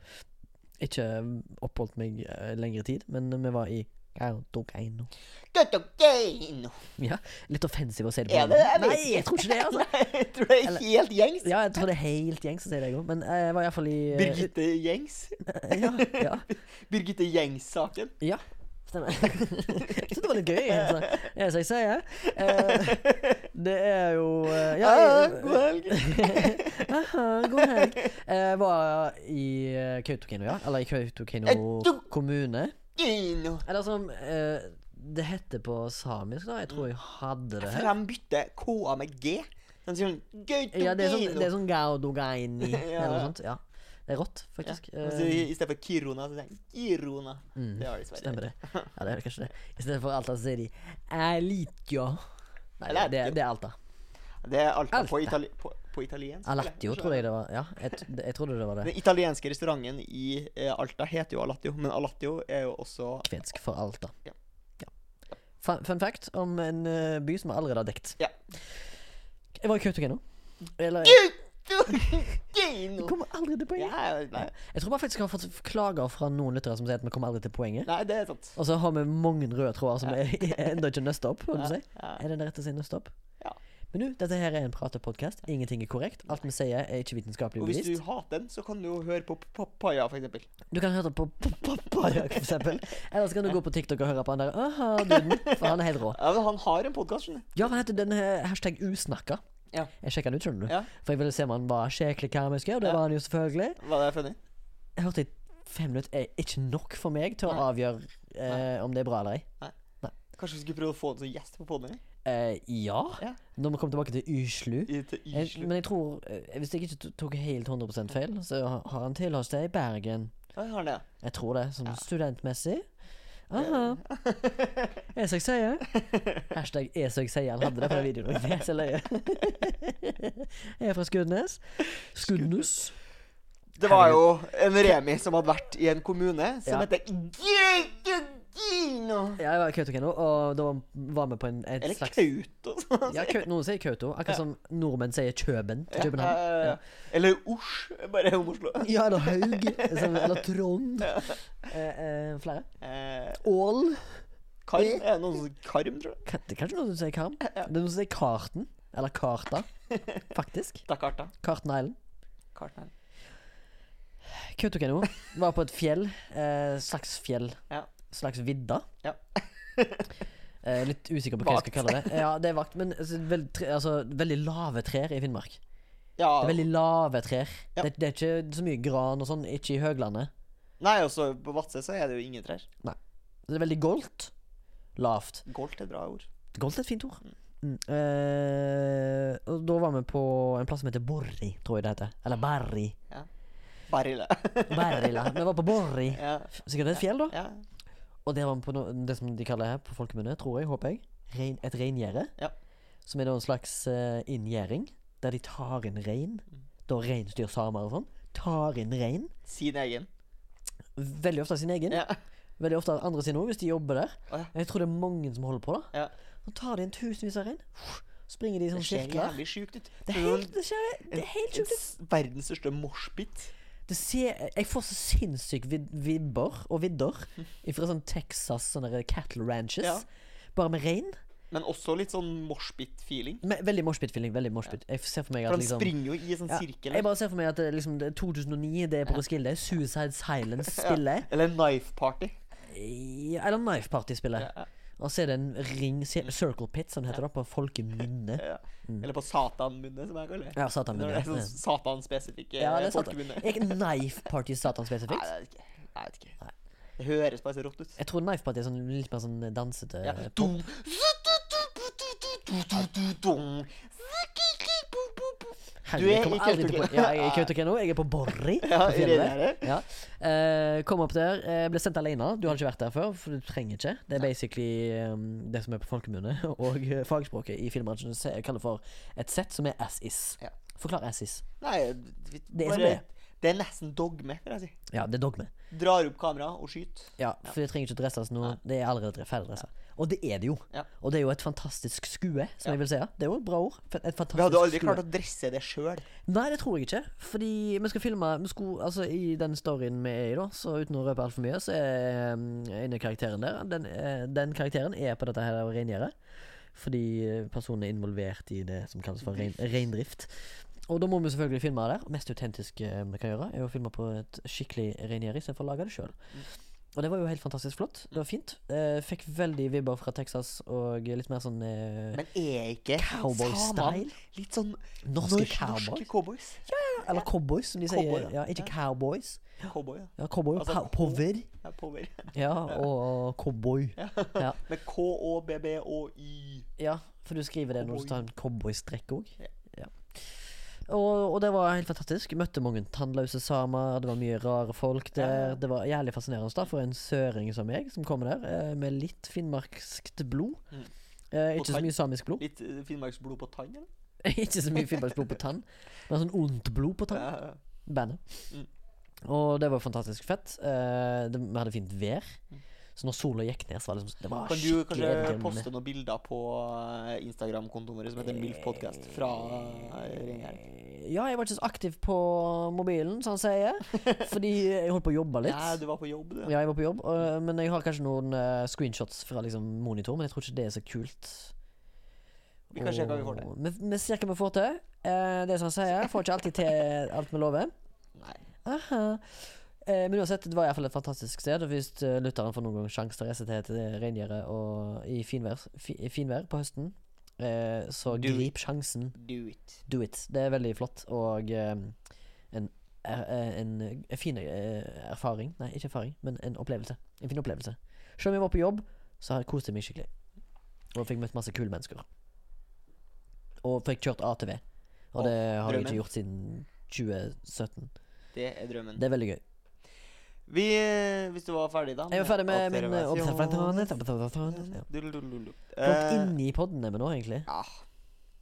Speaker 1: Ikke um, oppholdt meg eh, lengre tid, men vi var i Kautokeino.
Speaker 2: Kautokeino.
Speaker 1: Ja, litt offensiv å si det på.
Speaker 2: Er
Speaker 1: den
Speaker 2: det det?
Speaker 1: måten.
Speaker 2: Jeg
Speaker 1: Nei,
Speaker 2: vet
Speaker 1: jeg tror ikke det, altså.
Speaker 2: Nei, jeg tror det er
Speaker 1: Eller-
Speaker 2: helt gjengs.
Speaker 1: Ja, jeg tror det er helt gjengs å si det, jeg òg, men eh, jeg var iallfall i eh,
Speaker 2: Birgitte Gjengs.
Speaker 1: Ja, ja.
Speaker 2: Birgitte Gjengs-saken.
Speaker 1: Ja, stemmer. jeg synes det var litt gøy. Jeg, så. jeg, så jeg sier eh, Det er jo eh, ja,
Speaker 2: Ja,
Speaker 1: jeg-
Speaker 2: Ah, god helg.
Speaker 1: Aha, god helg. Jeg var i eh, Kautokeino, ja. Eller i Kautokeino
Speaker 2: Et dum-
Speaker 1: kommune.
Speaker 2: Ino.
Speaker 1: Eller som eh, det heter på samisk, da. Jeg tror jeg hadde det
Speaker 2: For
Speaker 1: her.
Speaker 2: de bytter K-a med G. Den sier sånn Gautogino.
Speaker 1: Ja, det er sånn, det er sånn gaudogaini
Speaker 2: Ja.
Speaker 1: eller noe sånt. Ja. Det er rått, faktisk.
Speaker 2: Og så
Speaker 1: Eh, Mm,
Speaker 2: i stedet for Kirona, så sier de Kirona. Det har de i Sverige.
Speaker 1: Stemmer det. Ja, det er kanskje det. I stedet for Alta så sier de Elitio. Nei, det,
Speaker 2: Eller
Speaker 1: det,
Speaker 2: Elitio.
Speaker 1: det er Alta.
Speaker 2: Det er Alta på,
Speaker 1: Alta.
Speaker 2: itali på, på italiensk. eller?
Speaker 1: Alatio, trodde jeg det var. Ja, jeg, t- jeg trodde det var det.
Speaker 2: Den italienske restauranten i eh, Alta heter jo Alatio, men Alatio er jo også
Speaker 1: Kvensk for Alta.
Speaker 2: Ja.
Speaker 1: Ja. Fun, fun fact om en eh, by som vi allerede har dekt.
Speaker 2: Ja.
Speaker 1: Jeg var i Kautokeino. Eller
Speaker 2: Gautogino.
Speaker 1: Jeg kommer aldri til poenget.
Speaker 2: Ja, nei.
Speaker 1: Jeg tror bare faktisk jeg har fått klager fra noen lyttere som sier at vi kommer aldri til poenget.
Speaker 2: nei, det er sant.
Speaker 1: Og så har vi mange røde tråder som er ennå ikke nøsta opp. holdt jeg på å si.
Speaker 2: Ja, ja.
Speaker 1: Er det det rette å si nøsta opp?
Speaker 2: Ja.
Speaker 1: Men du, dette her er en pratepodkast. Ingenting er korrekt. Alt vi sier, er ikke vitenskapelig
Speaker 2: Og hvis du
Speaker 1: bevist.
Speaker 2: hater den, så kan du jo høre på Papaya, for eksempel.
Speaker 1: Du kan høre det på Papaya, for eksempel. Eller så kan du gå på TikTok og høre på han der aha, duden. For han er helt rå.
Speaker 2: Ja, men han har en podkast, skjønner du.
Speaker 1: Ja, han heter den her- hashtag usnakka.
Speaker 2: Ja.
Speaker 1: Jeg sjekka den ut, skjønner du.
Speaker 2: Ja.
Speaker 1: For jeg ville se om han var skikkelig karmisk, og det
Speaker 2: Ja.
Speaker 1: var han jo selvfølgelig.
Speaker 2: Var det funny?
Speaker 1: Jeg hørte i fem minutter er ikke nok for meg til å
Speaker 2: Nei.
Speaker 1: avgjøre eh, om det er bra eller ei.
Speaker 2: Kanskje vi skulle prøve å få den som gjest på poden?
Speaker 1: Eh, ja.
Speaker 2: Ja.
Speaker 1: Når vi kommer tilbake til Yslu. Jeg,
Speaker 2: Islu.
Speaker 1: men jeg tror, eh, hvis jeg ikke to- tok helt 100 feil, så ha- har han tilholdssted i Bergen.
Speaker 2: Ja, jeg har den, ja.
Speaker 1: Jeg tror det, som studentmessig. Aha. Er som jeg sier. Hashtag er som jeg sier. Han hadde det på den videoen. og Jeg er så løye. Jeg er fra Skudenes. Skudenes.
Speaker 2: Det var jo en Remi som hadde vært i en kommune som
Speaker 1: Ja.
Speaker 2: heter Gautogino.
Speaker 1: Ja, jeg var i Kautokeino, og da var vi på en, et
Speaker 2: Eller sånn.
Speaker 1: slags
Speaker 2: Kautokeino.
Speaker 1: ja, Kau- Noen sier Kauto, akkurat som nordmenn sier Kjøben til København.
Speaker 2: Ja, ja, ja. Eller Osj, bare om Oslo.
Speaker 1: Ja, eller Haug. som- Eller Trond. Eh, eh, flere.
Speaker 2: Eh,
Speaker 1: Ål.
Speaker 2: karm er det noen som Karm, tror jeg.
Speaker 1: Ka- Det er kanskje noen som sier Karm. Det er noen som sier Karten. Eller Karta, faktisk.
Speaker 2: Det er karta.
Speaker 1: Karten Island.
Speaker 2: Karten her.
Speaker 1: Kautokeino var på et fjell. Eh, slags fjell.
Speaker 2: Ja.
Speaker 1: Slags vidda.
Speaker 2: Ja.
Speaker 1: Eh, litt usikker på hva jeg skal
Speaker 2: Vagt.
Speaker 1: kalle det. Ja, det er vakt, men altså, veld, tre, altså, veldig lave trær i Finnmark.
Speaker 2: Ja,
Speaker 1: Det er veldig lave trær.
Speaker 2: Ja.
Speaker 1: Det, det er ikke så mye gran og sånn, ikke i høglandet.
Speaker 2: Nei, også på Vadsø så er det jo ingen trær.
Speaker 1: Så det er veldig goldt. Lavt.
Speaker 2: Goldt er et bra ord.
Speaker 1: Goldt er et fint ord. Mm. Eh, og da var vi på en plass som heter Borri, tror jeg det heter. Eller Barri.
Speaker 2: Barille.
Speaker 1: Barrila. Vi var på Borri.
Speaker 2: ja.
Speaker 1: Sikkert et fjell, da.
Speaker 2: ja.
Speaker 1: Og der var vi på no det som de kaller her på folkemunne, tror jeg, håper jeg, rein, et reingjerde.
Speaker 2: Ja.
Speaker 1: Som er da en slags uh, inngjerding, der de tar inn rein.
Speaker 2: Mm.
Speaker 1: Da reinsdyr, samer og sånn. Tar inn rein.
Speaker 2: Sin egen.
Speaker 1: Veldig ofte av sin egen.
Speaker 2: Ja.
Speaker 1: Veldig ofte av andre sine òg, hvis de jobber der.
Speaker 2: Å, ja.
Speaker 1: Jeg tror det er mange som holder på, da.
Speaker 2: Ja.
Speaker 1: Så tar de inn tusenvis av rein. Springer de i
Speaker 2: Det
Speaker 1: sånne
Speaker 2: ser
Speaker 1: sirkler.
Speaker 2: jævlig sjukt ut.
Speaker 1: Det er helt, det skjer, det er helt sjukt.
Speaker 2: Verdens største moshpit.
Speaker 1: Det ser, jeg får så sinnssyke vid vibber og vidder fra sånn Texas, sånne der cattle ranches.
Speaker 2: Ja.
Speaker 1: Bare med rein.
Speaker 2: Men også litt sånn moshpit-feeling.
Speaker 1: Me- Veldig moshpit-feeling. veldig moshpit Jeg ser for meg
Speaker 2: For
Speaker 1: at
Speaker 2: han
Speaker 1: liksom
Speaker 2: springer jo i en sånn
Speaker 1: ja,
Speaker 2: sirkel.
Speaker 1: Jeg bare ser for meg at det, liksom, det er 2009, det er på Roskilde. Suicide Silence spillet
Speaker 2: Eller Knife Party.
Speaker 1: Ja, Eller Knife Party-spillet.
Speaker 2: Ja, ja.
Speaker 1: Og så er det en ring cir- Circle Pit, som det heter da, på folkemunne.
Speaker 2: Ja. Eller på Satanmunne, som jeg kaller det.
Speaker 1: Mm. Ja, satanmunne.
Speaker 2: Når det er sånn
Speaker 1: Ja,
Speaker 2: Satan-spesifikke
Speaker 1: Ja, det er satan.
Speaker 2: folkemunne.
Speaker 1: Er ikke Knife Party Satan
Speaker 2: Nei,
Speaker 1: spesifikt?
Speaker 2: jeg vet ikke. Nei, Jeg vet ikke. Det høres bare så rått ut. Eh,
Speaker 1: Jeg tror Knife Party er sånn, litt mer sånn dansete.
Speaker 2: Ja.
Speaker 1: pop.
Speaker 2: Dum. Dum.
Speaker 1: Herregud, jeg kommer
Speaker 2: i
Speaker 1: aldri til
Speaker 2: Kautokeino.
Speaker 1: Ja, jeg er i Kautokeino. Jeg er på Borri.
Speaker 2: Ja,
Speaker 1: på fjellet.
Speaker 2: det er det.
Speaker 1: Ja. Eh, kom opp der. eh, ble sendt alene. Du hadde ikke vært der før, for du trenger ikke. Det er basically um, det som er på folkemunne, og eh, fagspråket i filmbransjen se- kaller for et sett som er as is.
Speaker 2: Ja.
Speaker 1: Forklar as is.
Speaker 2: Nei, vi-
Speaker 1: er som
Speaker 2: bare-
Speaker 1: det
Speaker 2: det er nesten dogme, vil jeg si.
Speaker 1: Ja, det er dogme.
Speaker 2: Drar opp kameraet og skyter.
Speaker 1: Ja, for det trenger ikke dresses nå. Det er allerede dre- ferdig dressa. Og det er det jo.
Speaker 2: Ja.
Speaker 1: Og det er jo et fantastisk skue, som jeg vil si. Det er jo et bra ord. Et fantastisk
Speaker 2: Vi hadde aldri
Speaker 1: skue.
Speaker 2: klart å dresse det sjøl.
Speaker 1: Nei, det tror jeg ikke. Fordi vi skal filme vi skulle, altså, I den storyen vi er i, da så uten å røpe altfor mye, så er um, en av karakterene der Den, eh, den karakteren er på dette her reingjerdet. Fordi eh, personen er involvert i det som kalles for rein, reindrift. Og da må vi selvfølgelig
Speaker 2: Mm.
Speaker 1: filme der. Mest autentiske eh, vi kan gjøre, er å filme på et skikkelig reingjerde istedenfor å lage det sjøl. Og det var jo helt fantastisk flott. Det var fint. Eh, fikk veldig vibber fra Texas og litt mer sånn eh,
Speaker 2: Men er ikke
Speaker 1: cowboy-style.
Speaker 2: samene litt sånn
Speaker 1: Norske
Speaker 2: norsk-
Speaker 1: cowboy.
Speaker 2: norske cowboys?
Speaker 1: Eller cowboys, som de
Speaker 2: Cowboy,
Speaker 1: sier.
Speaker 2: ja.
Speaker 1: Ja, ikke cowboys.
Speaker 2: Cowboy, ja.
Speaker 1: Ja, cowboy.
Speaker 2: Altså,
Speaker 1: pow- Power.
Speaker 2: ja cowboy.
Speaker 1: Ja, og cowboy. Ja.
Speaker 2: Med K-O-B-B-O-Y.
Speaker 1: Ja, for du skriver det når
Speaker 2: Cowboy.
Speaker 1: du tar en cowboystrekk òg.
Speaker 2: Ja.
Speaker 1: Ja. Og, og det var helt fantastisk. Møtte mange tannløse samer. Det var mye rare folk der. Det var jævlig fascinerende da for en søring som meg, som kommer der, eh, med litt finnmarkskt blod.
Speaker 2: Mm.
Speaker 1: Eh,
Speaker 2: Og
Speaker 1: ikke så
Speaker 2: tann.
Speaker 1: mye samisk blod.
Speaker 2: Litt eh, finnmarksblod på tann, eller?
Speaker 1: ikke så mye finnmarksblod på tann, men sånn ondt blod på tann
Speaker 2: Ja, ja.
Speaker 1: bandet.
Speaker 2: Mm.
Speaker 1: Og det var fantastisk fett. Eh, det, vi hadde fint vær. Så når sola gikk ned, så var det liksom det var
Speaker 2: Mm. Kan du
Speaker 1: skikkelig
Speaker 2: kanskje
Speaker 1: eventyrlig.
Speaker 2: poste noen bilder på eh, Instagram-kontoen vår som heter MILFpodcast fra eh, Ringheim?
Speaker 1: Ja, jeg var ikke så aktiv på mobilen, som han sier. Fordi jeg holdt på å jobbe litt.
Speaker 2: Ja, du var på jobb, du.
Speaker 1: Ja, jeg var på jobb, og, men jeg har kanskje noen eh, screenshots fra liksom, monitor, men jeg tror ikke det er så kult.
Speaker 2: Vi kan se hva vi får til.
Speaker 1: Og- Vi, vi ser hva vi får til. Eh, det er som han sier, får ikke alltid til alt vi lover.
Speaker 2: Nei.
Speaker 1: Aha. Eh, men uansett, det var i hvert fall et fantastisk sted. Og hvis eh, lytteren får noen gang sjanse til å reise til til reingjerdet og- i finvær, fi, i finvær på høsten, eh, så
Speaker 2: Do
Speaker 1: grip sjansen.
Speaker 2: Do it.
Speaker 1: Do it. Det er veldig flott og eh, en, er, er- en, en fin eh, erfaring. Nei, ikke erfaring, men en opplevelse. En fin opplevelse. Selv om jeg var på jobb, så har jeg kost meg skikkelig. Og fikk møtt masse kule mennesker. Og fikk kjørt ATV. Og
Speaker 2: Åh,
Speaker 1: det har jeg
Speaker 2: drømmen.
Speaker 1: ikke gjort siden 2017.
Speaker 2: Det er drømmen.
Speaker 1: Det er veldig gøy.
Speaker 2: Vi, eh, hvis du var ferdig, da
Speaker 1: Jeg var ferdig med min eh,
Speaker 2: observasjon.
Speaker 1: observasjon. Ja.
Speaker 2: Dulululu.
Speaker 1: Langt
Speaker 2: Eh,
Speaker 1: inni podden er vi nå, egentlig.
Speaker 2: ja,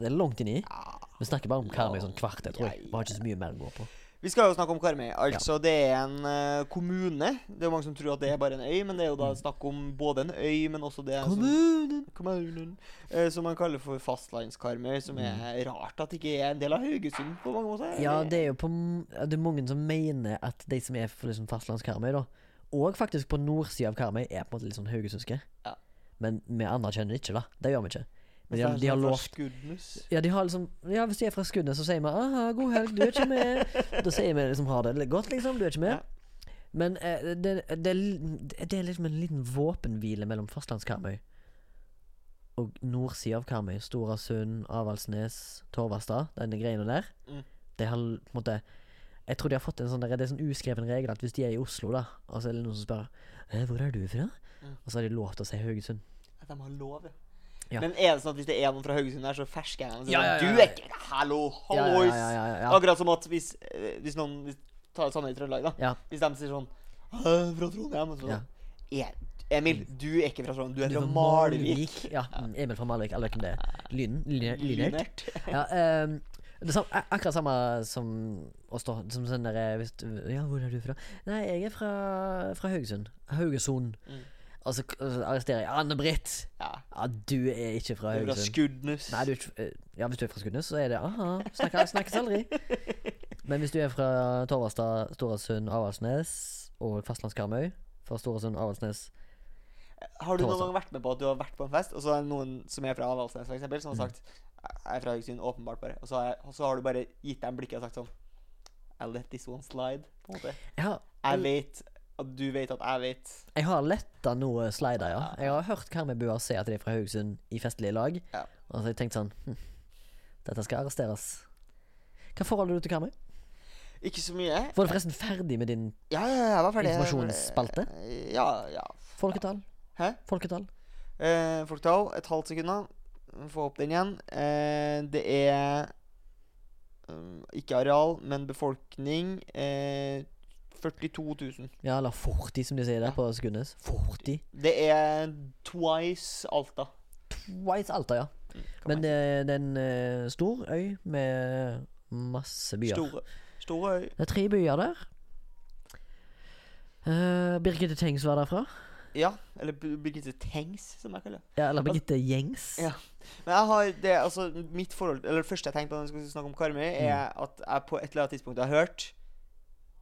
Speaker 1: Det er langt inni.
Speaker 2: ja.
Speaker 1: Vi snakker bare om Karmøy sånn kvarter, tror
Speaker 2: Ja,
Speaker 1: jeg. Vi har ikke så mye mer å gå på.
Speaker 2: Vi skal jo snakke om Karmøy. Altså, det er en eh, kommune. Det er jo mange som tror at det er bare en øy, men det er jo da snakk om både en øy, men også det som
Speaker 1: Mm. Kommunen!
Speaker 2: Kommunen. eh, Som man kaller for fastlandskarmøy, som er rart at det ikke er en del av Haugesund på mange måter.
Speaker 1: Mm. Ja, det er jo på m- Det er mange som mener at de som er fra liksom fastlands-Karmøy, da, og faktisk på nordsida av Karmøy, er på en måte litt sånn haugesundske.
Speaker 2: Ja.
Speaker 1: Men vi anerkjenner det ikke, da. Det gjør vi ikke. Men
Speaker 2: Så
Speaker 1: de,
Speaker 2: er
Speaker 1: har-
Speaker 2: det
Speaker 1: de har
Speaker 2: sånn fra
Speaker 1: lovt
Speaker 2: Skudenes.
Speaker 1: ja, de har liksom, ja, hvis de er fra Skudenes, så sier vi 'aha, god helg, du er ikke med'. Da sier vi liksom 'ha det litt godt', liksom. Du er ikke med.
Speaker 2: Ja.
Speaker 1: Men eh, det, det, er li- det er liksom en liten våpenhvile mellom fastlands-Karmøy og nordsida av Karmøy. Storasund, Avaldsnes, Torvastad, denne greiene der.
Speaker 2: Mm.
Speaker 1: De har l- på en måte Jeg tror de har fått en sånn der, det er sånn uskreven regel at hvis de er i Oslo, da, og så er det noen som spør «Eh, 'Hvor er du fra?'
Speaker 2: Mm.
Speaker 1: Og så har de lov til å si Haugesund.
Speaker 2: At de har lov, ja.
Speaker 1: Ja.
Speaker 2: Men er det sånn at hvis det er noen fra Haugesund her, så fersker jeg dem?
Speaker 1: Ja, ja, ja,
Speaker 2: Du
Speaker 1: ja.
Speaker 2: er ikke Hallo,
Speaker 1: Ja, ja,
Speaker 2: hallois!
Speaker 1: ja, ja, ja, ja.
Speaker 2: Akkurat som at hvis, eh, hvis noen hvis, Ta det samme i Trøndelag, da.
Speaker 1: Ja.
Speaker 2: Hvis de sier sånn «Hæ, Fra Trondheim? Og så,
Speaker 1: Ja.
Speaker 2: «Er- Emil, du er ikke fra Trondheim, du er
Speaker 1: Du er
Speaker 2: fra
Speaker 1: fra
Speaker 2: Malvik.
Speaker 1: Liksom Malvik. Ja, mm, Emil fra Malvik. Alle vet hvem det er. Lyn, lyn, lynert.
Speaker 2: Lynert.
Speaker 1: Ja, ehm, det sam- ak- akkurat samme som å stå som sånn der, hvis du, Ja, hvor er du fra? Nei, jeg er fra, fra Haugesund. Haugesund.
Speaker 2: Mm.
Speaker 1: Og så k- og så arresterer jeg Anne-Britt.
Speaker 2: Ja.
Speaker 1: Ja, du er ikke fra
Speaker 2: Du er fra
Speaker 1: Haugesund.
Speaker 2: Skudenes.
Speaker 1: Nei, du er ikke, eh, ja, hvis du er fra Skudenes, så er det aha. Snakkes, snakkes aldri. Men hvis du er fra Torvastad, Storasund, Avaldsnes og fastlandskarmøy fra Storasund, Avaldsnes
Speaker 2: Har du noen
Speaker 1: Tåsa.
Speaker 2: gang vært med på at du har vært på en fest, og så er det noen som er fra Avaldsnes, for eksempel, som
Speaker 1: Mm.
Speaker 2: har sagt Jeg er fra Haugesund, åpenbart bare. Og så, har jeg, og så har du bare gitt dem blikket og sagt sånn I let this one slide, på en måte.
Speaker 1: Ja,
Speaker 2: Jeg vet at du vet at jeg vet.
Speaker 1: Jeg har letta noe slider, ja. Jeg har hørt Karmøybuer si at de er fra Haugesund i festlige lag.
Speaker 2: Ja.
Speaker 1: Og så har jeg tenkt sånn hm, Dette skal arresteres. Hva forhold har du til Karmøy?
Speaker 2: Ikke så mye.
Speaker 1: Var du forresten ferdig med din
Speaker 2: Ja, ja, ja, jeg var ferdig.
Speaker 1: Informasjonsspalte?
Speaker 2: Ja, ja.
Speaker 1: folketall?
Speaker 2: Hæ?
Speaker 1: Folketall?
Speaker 2: Eh, folketall, et halvt sekund, da. Få opp den igjen. Eh, det er um, ikke areal, men befolkning. Eh, 42 000.
Speaker 1: Ja, eller 40, som de sier der
Speaker 2: Ja.
Speaker 1: på Skudenes. 40.
Speaker 2: Det er twice Alta.
Speaker 1: Twice Alta, ja.
Speaker 2: Mm,
Speaker 1: Men det, det er en eh, stor øy med masse byer.
Speaker 2: Store, store øy.
Speaker 1: Det er tre byer der. Eh, Birgitte Tengs var derfra.
Speaker 2: Ja, eller B- Birgitte Tengs, som jeg kaller det.
Speaker 1: Ja, eller Birgitte Gjengs.
Speaker 2: Ja. Men jeg har det, altså, mitt forhold Eller det første jeg tenkte på når vi skulle snakke om Karmøy, er at jeg på et eller annet tidspunkt har hørt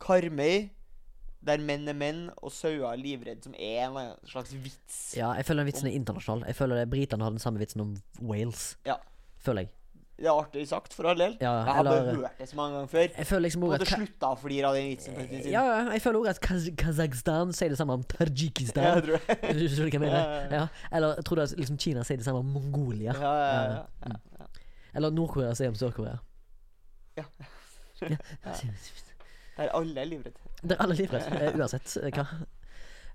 Speaker 2: Karmøy, der menn er menn og sauer er livredd, som er en eller annen slags vits.
Speaker 1: Ja, jeg føler den vitsen er internasjonal. Jeg føler det Britene har den samme vitsen om Wales.
Speaker 2: Ja.
Speaker 1: Føler jeg.
Speaker 2: Det er artig sagt, for all del.
Speaker 4: Ja,
Speaker 2: jeg har bare
Speaker 4: eller-
Speaker 2: hørt det så mange ganger før.
Speaker 4: Jeg føler liksom
Speaker 2: Jeg
Speaker 4: ordet
Speaker 2: måtte slutta å flire av den vitsen. for en tid siden.
Speaker 1: Ja, ja, jeg føler også at Kaz Kazakhstan sier det samme om
Speaker 2: Ja,
Speaker 1: Tadsjikistan.
Speaker 2: jeg tror det.
Speaker 1: Du skjønner hva jeg
Speaker 2: Ja, ja,
Speaker 1: mener? Ja. Eller jeg tror det er liksom Kina sier det samme om Mongolia.
Speaker 2: Ja, ja, ja,
Speaker 1: Mm.
Speaker 2: ja.
Speaker 1: Eller Nord-Korea sier om Sør-Korea.
Speaker 2: Ja.
Speaker 1: Ja.
Speaker 2: Der alle er livredde.
Speaker 1: Der alle er livredde, eh, uansett eh, hva.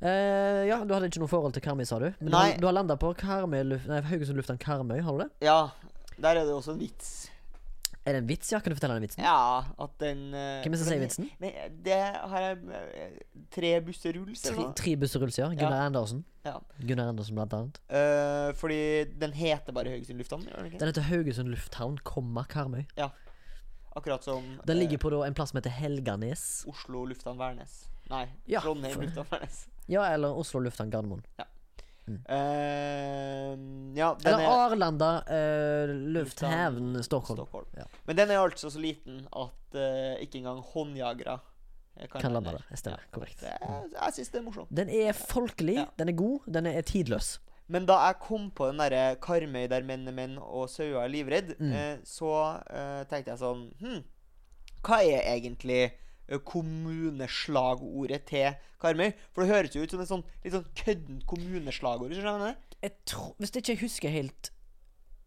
Speaker 1: Eh, ja, du hadde ikke noe forhold til Karmøy, sa du. Men du
Speaker 2: Nei.
Speaker 1: har, du har landa på Karmøy, luf nei, Haugesund lufthavn Karmøy, har du det?
Speaker 2: Ja, der er det også en vits.
Speaker 1: Er det en vits? Ja, kan du fortelle den vitsen?
Speaker 2: Ja, at den eh,
Speaker 1: Hvem er det som sier
Speaker 2: men-
Speaker 1: vitsen?
Speaker 2: Men det har jeg eh, Tre busser rulls, eller
Speaker 1: Tri,
Speaker 2: noe?
Speaker 1: tre busseruls, ja. Gunnar Andersen.
Speaker 2: Ja.
Speaker 1: Gunnar Andersen, blant annet.
Speaker 2: Eh, fordi den heter bare Haugesund lufthavn, gjør den ikke?
Speaker 1: Den heter Haugesund lufthavn, komma Karmøy.
Speaker 2: Akkurat som
Speaker 1: Den
Speaker 2: eh,
Speaker 1: ligger på da, en plass som heter Helganes.
Speaker 2: Oslo lufthavn Værnes. Nei,
Speaker 1: Ja,
Speaker 2: Trondheim
Speaker 1: for-
Speaker 2: lufthavn Værnes.
Speaker 1: Ja, eller Oslo lufthavn Gardermoen.
Speaker 2: Eh, ja, den
Speaker 1: Eller
Speaker 2: er
Speaker 1: Arlanda eh, lufthavn Stockholm.
Speaker 2: Stockholm.
Speaker 1: Ja.
Speaker 2: Men den er altså så liten at eh, ikke engang håndjagere eh,
Speaker 1: Kan lande
Speaker 2: lande
Speaker 1: der. Jeg stemmer. Korrekt.
Speaker 2: Det er- Jeg syns det er morsomt.
Speaker 1: Den er folkelig,
Speaker 2: Ja.
Speaker 1: den er god, den er tidløs.
Speaker 2: Men da jeg kom på den derre Karmøy der menn er menn og sauer er livredd,
Speaker 1: Mm.
Speaker 2: eh, så eh, tenkte jeg sånn Hm, hva er egentlig eh, kommuneslagordet til Karmøy? For det høres jo ut som et sånn litt sånn køddent kommuneslagord. hvis du skjønner hva jeg mener.
Speaker 1: Jeg tror, hvis jeg ikke husker helt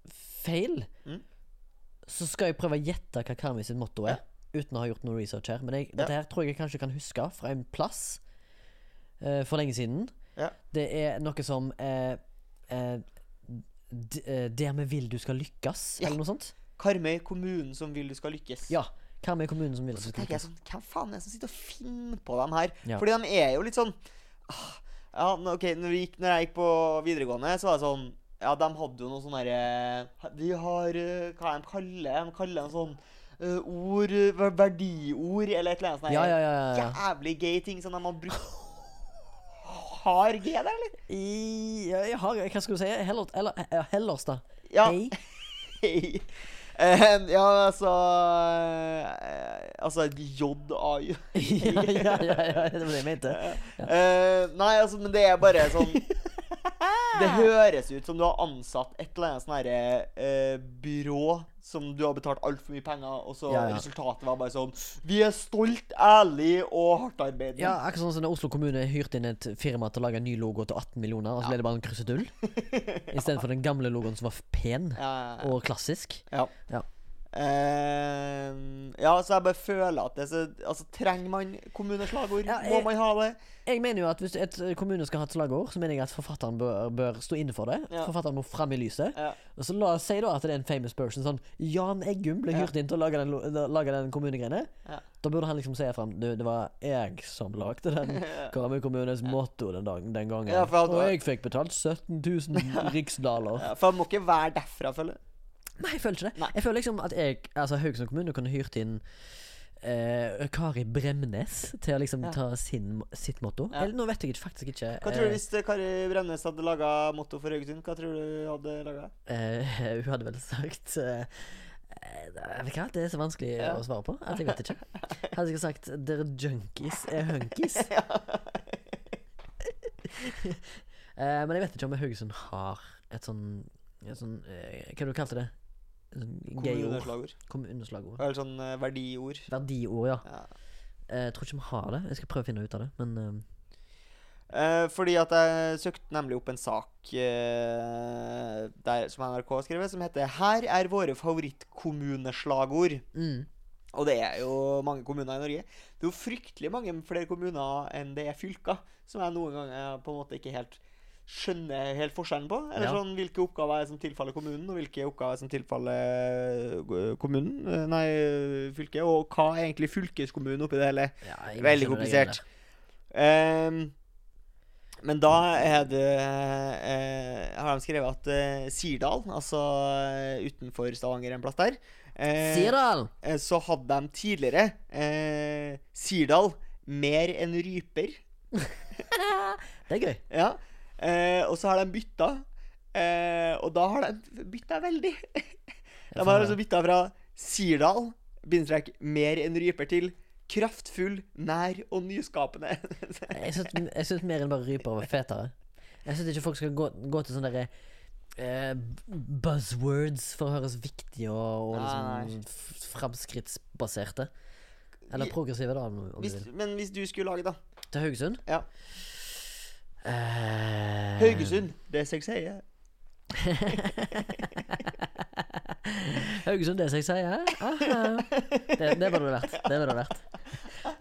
Speaker 1: feil,
Speaker 2: Mm.
Speaker 1: så skal jeg prøve å gjette hva Karmøy sitt motto er. Uten å ha gjort noe research her. Men jeg,
Speaker 2: Ja.
Speaker 1: dette her tror jeg jeg kanskje kan huske fra en plass eh, for lenge siden.
Speaker 2: Ja.
Speaker 1: Det er noe som eh, eh, d- eh, Der vi vil du skal lykkes,
Speaker 2: Ja.
Speaker 1: eller noe sånt.
Speaker 2: Karmøy, kommunen som vil du skal lykkes.
Speaker 1: Ja. Karmøy kommune som vil
Speaker 2: Og
Speaker 1: at
Speaker 2: så
Speaker 1: du skal
Speaker 2: tenker jeg
Speaker 1: lykkes.
Speaker 2: sånn Hvem faen er det som sitter og finner på dem her?
Speaker 1: Ja.
Speaker 2: Fordi de er jo litt sånn ah, Ja, nå- ok, når, vi gikk, når jeg gikk på videregående, så var det sånn Ja, de hadde jo noe sånn derre De har eh, Hva er det de kaller De kaller en sånn eh, ord eh, ver- Verdiord, eller et eller annet sånt.
Speaker 1: Ja,
Speaker 2: her
Speaker 1: ja, ja. ja, ja.
Speaker 2: Jævlig gay ting som de har brukt Har G der, eller?
Speaker 1: I, ja, jeg har, hva skal du si? Hellers, eller, eh, ja, Hellers da.
Speaker 2: Ja.
Speaker 1: Hei.
Speaker 2: Hei. Eh, ja, altså eh, Altså J-A-J.
Speaker 1: ja, ja, ja, ja, det var det jeg mente.
Speaker 2: Eh, nei, altså, men det er bare sånn Det høres ut som du har ansatt et eller annet sånn herre eh, byrå som du har betalt altfor mye penger, og så
Speaker 1: Ja, ja.
Speaker 2: resultatet var bare sånn Vi er stolt, ærlig og hardtarbeidende.
Speaker 1: Ja, akkurat sånn som når Oslo kommune hyrte inn et firma til å lage en ny logo til 18 millioner, og så ble det bare en krusedull. Istedenfor den gamle logoen som var f- pen
Speaker 2: Ja,
Speaker 1: og klassisk.
Speaker 2: ja.
Speaker 1: Ja.
Speaker 2: Eh, ja, så jeg bare føler at det så, Altså, trenger man kommuneslagord?
Speaker 1: Ja,
Speaker 2: Må
Speaker 1: jeg-
Speaker 2: man ha det?
Speaker 1: Jeg mener jo at hvis et kommune skal ha et slagord, så mener jeg at forfatteren bør, bør stå inne for det.
Speaker 2: Ja.
Speaker 1: Forfatteren må fram i lyset.
Speaker 2: Ja.
Speaker 1: Og så la oss si da at det er en famous person. Sånn Jan Eggum ble
Speaker 2: Ja.
Speaker 1: hyrt inn til å lage den, lo- lage den kommunegreiene.
Speaker 2: Ja.
Speaker 1: Da burde han liksom se fram Du, det var jeg som lagde den Karmøy kommunes motto den, dagen, den gangen.
Speaker 2: Ja, for han-
Speaker 1: og jeg fikk betalt 17 000 riksdaler.
Speaker 2: Ja, for man må ikke være derfra, føler jeg.
Speaker 1: Nei, jeg føler ikke det.
Speaker 2: Nei.
Speaker 1: Jeg føler liksom at jeg, altså Haugesund kommune kunne hyrt inn eh, Kari Bremnes til å liksom
Speaker 2: Ja.
Speaker 1: ta sin, sitt motto.
Speaker 2: Ja.
Speaker 1: Eller, nå vet jeg ikke- faktisk ikke.
Speaker 2: Hva tror du hvis eh, Kari Bremnes hadde laga motto for Haugesund? Hva tror du hadde laga?
Speaker 1: Eh, eh, hun hadde vel sagt eh, eh, Vet du hva, det er så vanskelig
Speaker 2: Ja.
Speaker 1: å svare på at jeg vet ikke. Hadde jeg sagt 'dere junkies er hunkies'? Eh, men jeg vet ikke om Haugesund har et sånn, et sånn eh, Hva du kalte du det? Et sånn gay ord.
Speaker 2: Kommuneslagord.
Speaker 1: Kommuneslagord.
Speaker 2: Eller sånn eh, verdiord.
Speaker 1: Verdiord, ja.
Speaker 2: Ja.
Speaker 1: Eh, Jeg tror ikke vi har det. Jeg skal prøve å finne ut av det. Men eh,
Speaker 2: Eh, fordi at jeg søkte nemlig opp en sak eh, der, som NRK har skrevet, som heter 'Her er våre favorittkommuneslagord'.
Speaker 1: mm.
Speaker 2: Og det er jo mange kommuner i Norge. Det er jo fryktelig mange flere kommuner enn det er fylker, som jeg noen ganger eh, på en måte ikke helt skjønner helt forskjellen på. Eller
Speaker 1: Ja.
Speaker 2: sånn hvilke oppgaver er som tilfaller kommunen, og hvilke oppgaver er som tilfaller øh, kommunen, øh, nei, øh, fylket. Og hva er egentlig fylkeskommunen oppi det hele?
Speaker 1: ja, jeg skjønner det
Speaker 2: Veldig
Speaker 1: greiene
Speaker 2: komplisert. Ehm, men da er det eh, Har de skrevet at eh, Sirdal, altså eh, utenfor Stavanger en plass der
Speaker 1: der.
Speaker 2: eh,
Speaker 1: Sirdal!
Speaker 2: eh, Så hadde de tidligere eh, Sirdal mer enn ryper.
Speaker 1: Det er gøy.
Speaker 2: Ja. Eh, og så har de bytta. Eh, og da har de bytta veldig. De har altså bytta fra Sirdal, bindestrek, mer enn ryper til kraftfull, nær og nyskapende.
Speaker 1: Jeg syns- Jeg syns mer enn bare ryper var fetere. Jeg syns ikke folk skal gå, gå til sånn derre eh, buzzwords for å høres viktige og, og
Speaker 2: Nei,
Speaker 1: liksom f- framskrittsbaserte.
Speaker 2: Vi-
Speaker 1: Eller progressive, da. Om, om du
Speaker 2: Hvis,
Speaker 1: vil.
Speaker 2: men hvis du skulle lage, da.
Speaker 1: Til Haugesund?
Speaker 2: Ja.
Speaker 1: Eh,
Speaker 2: Haugesund. Det som jeg sier.
Speaker 1: Haugesund, det som jeg sier. Aha. Det, det var det verdt. Det var det verdt.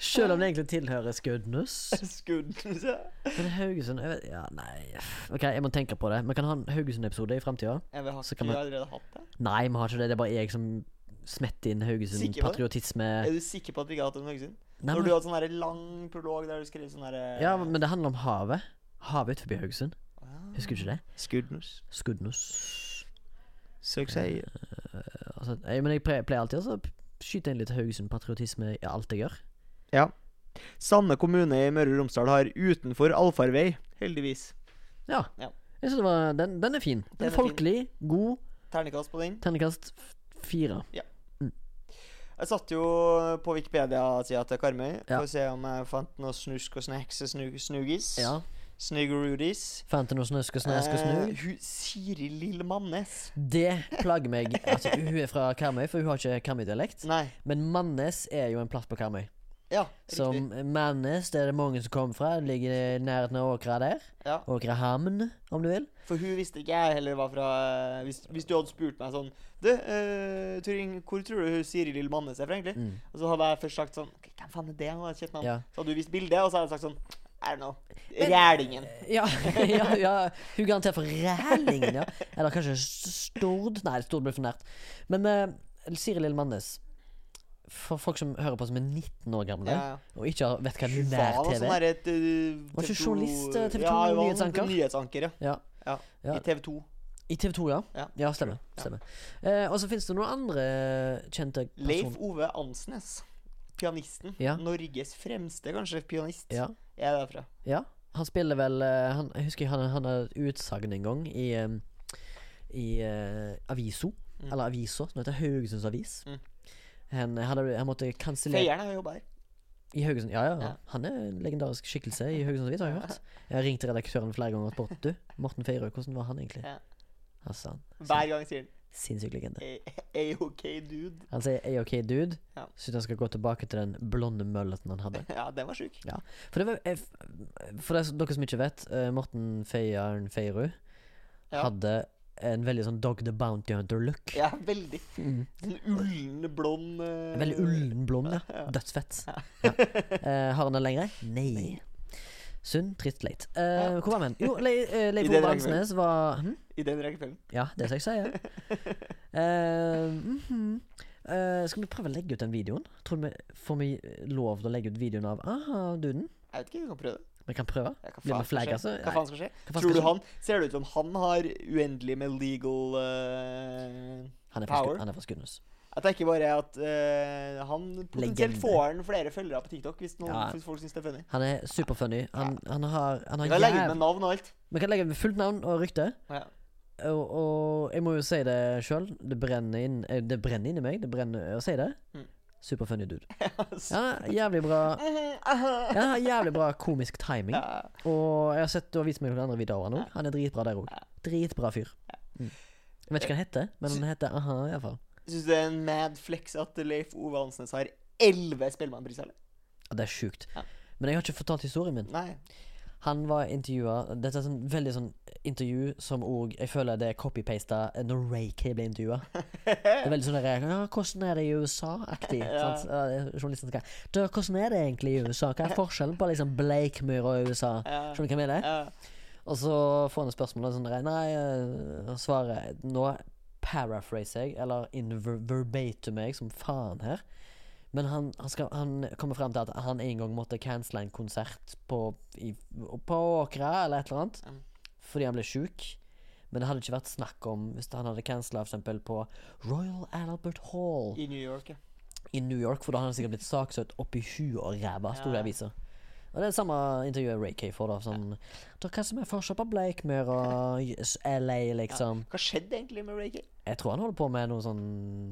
Speaker 1: Selv om det egentlig tilhører Skaudnus.
Speaker 2: Skudden, så.
Speaker 1: Men Haugesund jeg vet, Ja, nei. Ok, jeg må tenke på det. Vi kan ha en Haugesund-episode i framtida.
Speaker 2: Jeg vil ha
Speaker 1: Så
Speaker 2: ikke
Speaker 1: kan
Speaker 2: du
Speaker 1: man-
Speaker 2: allerede hatt det.
Speaker 1: Nei, vi har ikke det. Det er bare jeg som smetter inn
Speaker 2: Sikker på det?
Speaker 1: Haugesund-patriotisme.
Speaker 2: Er du sikker på at vi ikke har hatt det om Haugesund?
Speaker 1: Eh. Nei,
Speaker 2: Når
Speaker 1: men-
Speaker 2: du har sånn her lang prolog der du skriver sånn herre
Speaker 1: Ja, men det handler om havet. Havet utenfor Haugesund.
Speaker 2: Ah.
Speaker 1: Husker du ikke det?
Speaker 2: Skudnus.
Speaker 1: Skuddnos.
Speaker 2: Så jeg sier
Speaker 1: Altså, jeg, men jeg pleier pleier alltid å skyte inn litt Haugesund-patriotisme i alt jeg gjør.
Speaker 2: Ja. Sande kommune i Møre og Romsdal har utenfor allfarvei, heldigvis.
Speaker 1: Ja.
Speaker 2: Ja.
Speaker 1: Jeg synes det var, den, den er fin. Den
Speaker 2: Den er
Speaker 1: er folkelig, god.
Speaker 2: Ternekast på den.
Speaker 1: Ternekast f- fire.
Speaker 2: Jeg satt jo på Wikipedia-sida til Karmøy
Speaker 1: Ja.
Speaker 2: for å se om jeg fant noe snusk og snacks og snug snuggies.
Speaker 1: Ja.
Speaker 2: Snuggeroodies.
Speaker 1: Fant du noe snøsk og snøsk og
Speaker 2: Eh,
Speaker 1: snu?
Speaker 2: hun Siri Lill Mannes.
Speaker 1: Det plager meg. Altså, hun er fra Karmøy, for hun har ikke Karmøy-dialekt.
Speaker 2: Nei.
Speaker 1: Men Mannes er jo en plass på Karmøy.
Speaker 2: Ja,
Speaker 1: Så
Speaker 2: riktig.
Speaker 1: Mannes, det er det mange som kommer fra. Det Ligger i nærheten av Åkra der.
Speaker 2: Ja.
Speaker 1: Åkrahamn, om du vil.
Speaker 2: For hun visste ikke jeg heller var fra eh, Hvis, hvis du hadde spurt meg sånn Du, eh, Turing, hvor tror du hun Siri Lill Mannes er fra, egentlig?
Speaker 1: Mm.
Speaker 2: Og så hadde jeg først sagt sånn «Ok, Hvem faen er det? Hun har et kjent navn.
Speaker 1: Ja.
Speaker 2: Så hadde du vist bildet, og så hadde jeg sagt sånn I don't know. Rælingen.
Speaker 1: Ja, ja, ja. Hun garantert for Rælingen, ja. Eller kanskje S- Stord. Nei, Stord blir for nært. Men eh, Siri Lille Mannes For folk som hører på som er 19 år gamle,
Speaker 2: Ja, ja.
Speaker 1: og ikke har- vet hva
Speaker 2: Hun var da
Speaker 1: nær-TV
Speaker 2: sånn
Speaker 1: er
Speaker 2: her et eh,
Speaker 1: Var ikke
Speaker 2: TV2
Speaker 1: journalist, eh, TV2
Speaker 2: Ja, hun var sånn
Speaker 1: nyhetsanker?
Speaker 2: nyhetsanker, ja.
Speaker 1: ja.
Speaker 2: ja.
Speaker 1: Ja.
Speaker 2: I TV 2.
Speaker 1: I TV 2, ja.
Speaker 2: Ja.
Speaker 1: Ja, stemmer. stemmer. Eh, og så fins det noen andre kjente
Speaker 2: Leif
Speaker 1: personer.
Speaker 2: Ove Ansnes. Pianisten.
Speaker 1: Ja.
Speaker 2: Norges fremste, kanskje, pianist.
Speaker 1: Ja.
Speaker 2: Jeg er derfra.
Speaker 1: ja. Han spiller vel eh, han, Jeg husker han, han hadde et utsagn en gang i, eh, i eh, Aviso. Eller Avisa, som heter Haugesunds Avis.
Speaker 2: Mm.
Speaker 1: Han, han, hadde- han måtte kansellere
Speaker 2: Feieren har jobba her.
Speaker 1: I Haugesund, ja, ja,
Speaker 2: Ja.
Speaker 1: ja. Han er en legendarisk skikkelse i Haugesund Avis, har jeg hørt. Jeg har ringt til redaktøren flere ganger og spurt du, Morten Feirø, hvordan var han egentlig?
Speaker 2: Ja.
Speaker 1: Altså, han,
Speaker 2: Hver gang sier
Speaker 1: sinnssyk legende.
Speaker 2: han AOK, dude.
Speaker 1: Han sier er ok, dude.
Speaker 2: Ja.
Speaker 1: Syns han skal gå tilbake til den blonde mølleten han hadde.
Speaker 2: Ja, den var sjuk.
Speaker 1: For, det var, eh, f- for det, dere som ikke vet, eh, Morten Feiren Feirø
Speaker 2: Ja.
Speaker 1: hadde en veldig sånn Dog the Bounty Hunter-look.
Speaker 2: Ja, veldig. Sånn ullen, blond eh,
Speaker 1: Veldig ullen blond, ja. Dødsfett. Ja. Eh, har han den lenger? Nei. Sunn, trist, leit. Eh, Hvor var vi? hen? Jo, Le eh,
Speaker 2: I
Speaker 1: Leif
Speaker 2: den
Speaker 1: Ove
Speaker 2: rekkefølgen.
Speaker 1: Ansnes var hm?
Speaker 2: I den rekkefølgen.
Speaker 1: Ja, det skal jeg si. Ja. Eh, mhm. Eh, skal vi prøve å legge ut den videoen? Tror du vi Får vi lov til å legge ut videoen av aha-duden?
Speaker 2: Jeg vet ikke, vi kan prøve det.
Speaker 1: Vi kan prøve.
Speaker 2: Ja, hva
Speaker 1: Blir
Speaker 2: faen
Speaker 1: vi flagga,
Speaker 2: skal skje?
Speaker 1: så
Speaker 2: Hva faen skal skje?
Speaker 1: altså. faen
Speaker 2: Tror
Speaker 1: skal
Speaker 2: du
Speaker 1: skje?
Speaker 2: han Ser det ut som han har uendelig med legal eh,
Speaker 1: Han er fra
Speaker 2: Power.
Speaker 1: Skud- han er fra Skudenes.
Speaker 2: Jeg tenker bare at eh, han potensielt
Speaker 1: Legende.
Speaker 2: får han flere følgere på TikTok hvis, noen,
Speaker 1: Ja.
Speaker 2: hvis folk syns det er funny.
Speaker 1: Han er superfunny. Han, han har, han har
Speaker 2: Vi kan legge ut
Speaker 1: jæv-
Speaker 2: med navn og alt.
Speaker 1: Vi kan legge ut med fullt navn og rykte.
Speaker 2: Ja.
Speaker 1: Og, og jeg må jo si det sjøl. Det brenner inn eh, Det brenner inni meg. Det brenner å si det.
Speaker 2: Mm.
Speaker 1: Superfunny dude.
Speaker 2: Altså.
Speaker 1: Ja, jævlig bra Ja, han har jævlig bra komisk timing.
Speaker 2: Ja.
Speaker 1: Og jeg har sett du har vist meg noen andre videoer av han òg. Han er dritbra der òg. Dritbra fyr. Mm. Jeg vet ikke hva han heter, men han heter aha, iallfall.
Speaker 2: Syns du det er en mad flex at Leif Ove Hansnes har elleve Spellemannpriser, eller?
Speaker 1: Ja, det er sjukt.
Speaker 2: Ja.
Speaker 1: Men jeg har ikke fortalt historien min.
Speaker 2: Nei.
Speaker 1: Han var intervjua Dette er sånn veldig sånn intervju som òg Jeg føler det er copy-pasta når Ray K ble intervjua. Det er veldig sånn der, ja, 'Hvordan er det i USA?'-aktig.
Speaker 2: Ja.
Speaker 1: sant? Ja, det er Journalisten skal «Du, 'Hvordan er det egentlig i USA?' Hva er forskjellen på liksom Bleikmyr og USA?
Speaker 2: Ja.
Speaker 1: Skjønner du hva jeg mener?
Speaker 2: Ja.
Speaker 1: Og så får han et spørsmål og sånn der, Nei, eh, og svaret Nå paraphraser jeg, eller inverbatum meg som faen her. Men han, han, skal, han kommer frem til at han en gang måtte cancele en konsert på, i, på Åkra eller et eller annet.
Speaker 2: Mm.
Speaker 1: Fordi han ble sjuk. Men det hadde ikke vært snakk om hvis han hadde cancela eksempel på Royal Albert Hall
Speaker 2: I New York, ja.
Speaker 1: i New York, for da hadde han sikkert blitt saksøkt oppi huet og ræva, sto det i
Speaker 2: Ja.
Speaker 1: avisa. Og det er det samme intervjuet Ray K får, da. Sånn «Da, Hva som er forskjell på Blakemyr og s- LA, liksom?
Speaker 2: Hva skjedde egentlig med Ray Gay?
Speaker 1: Jeg tror han holder på med noe sånn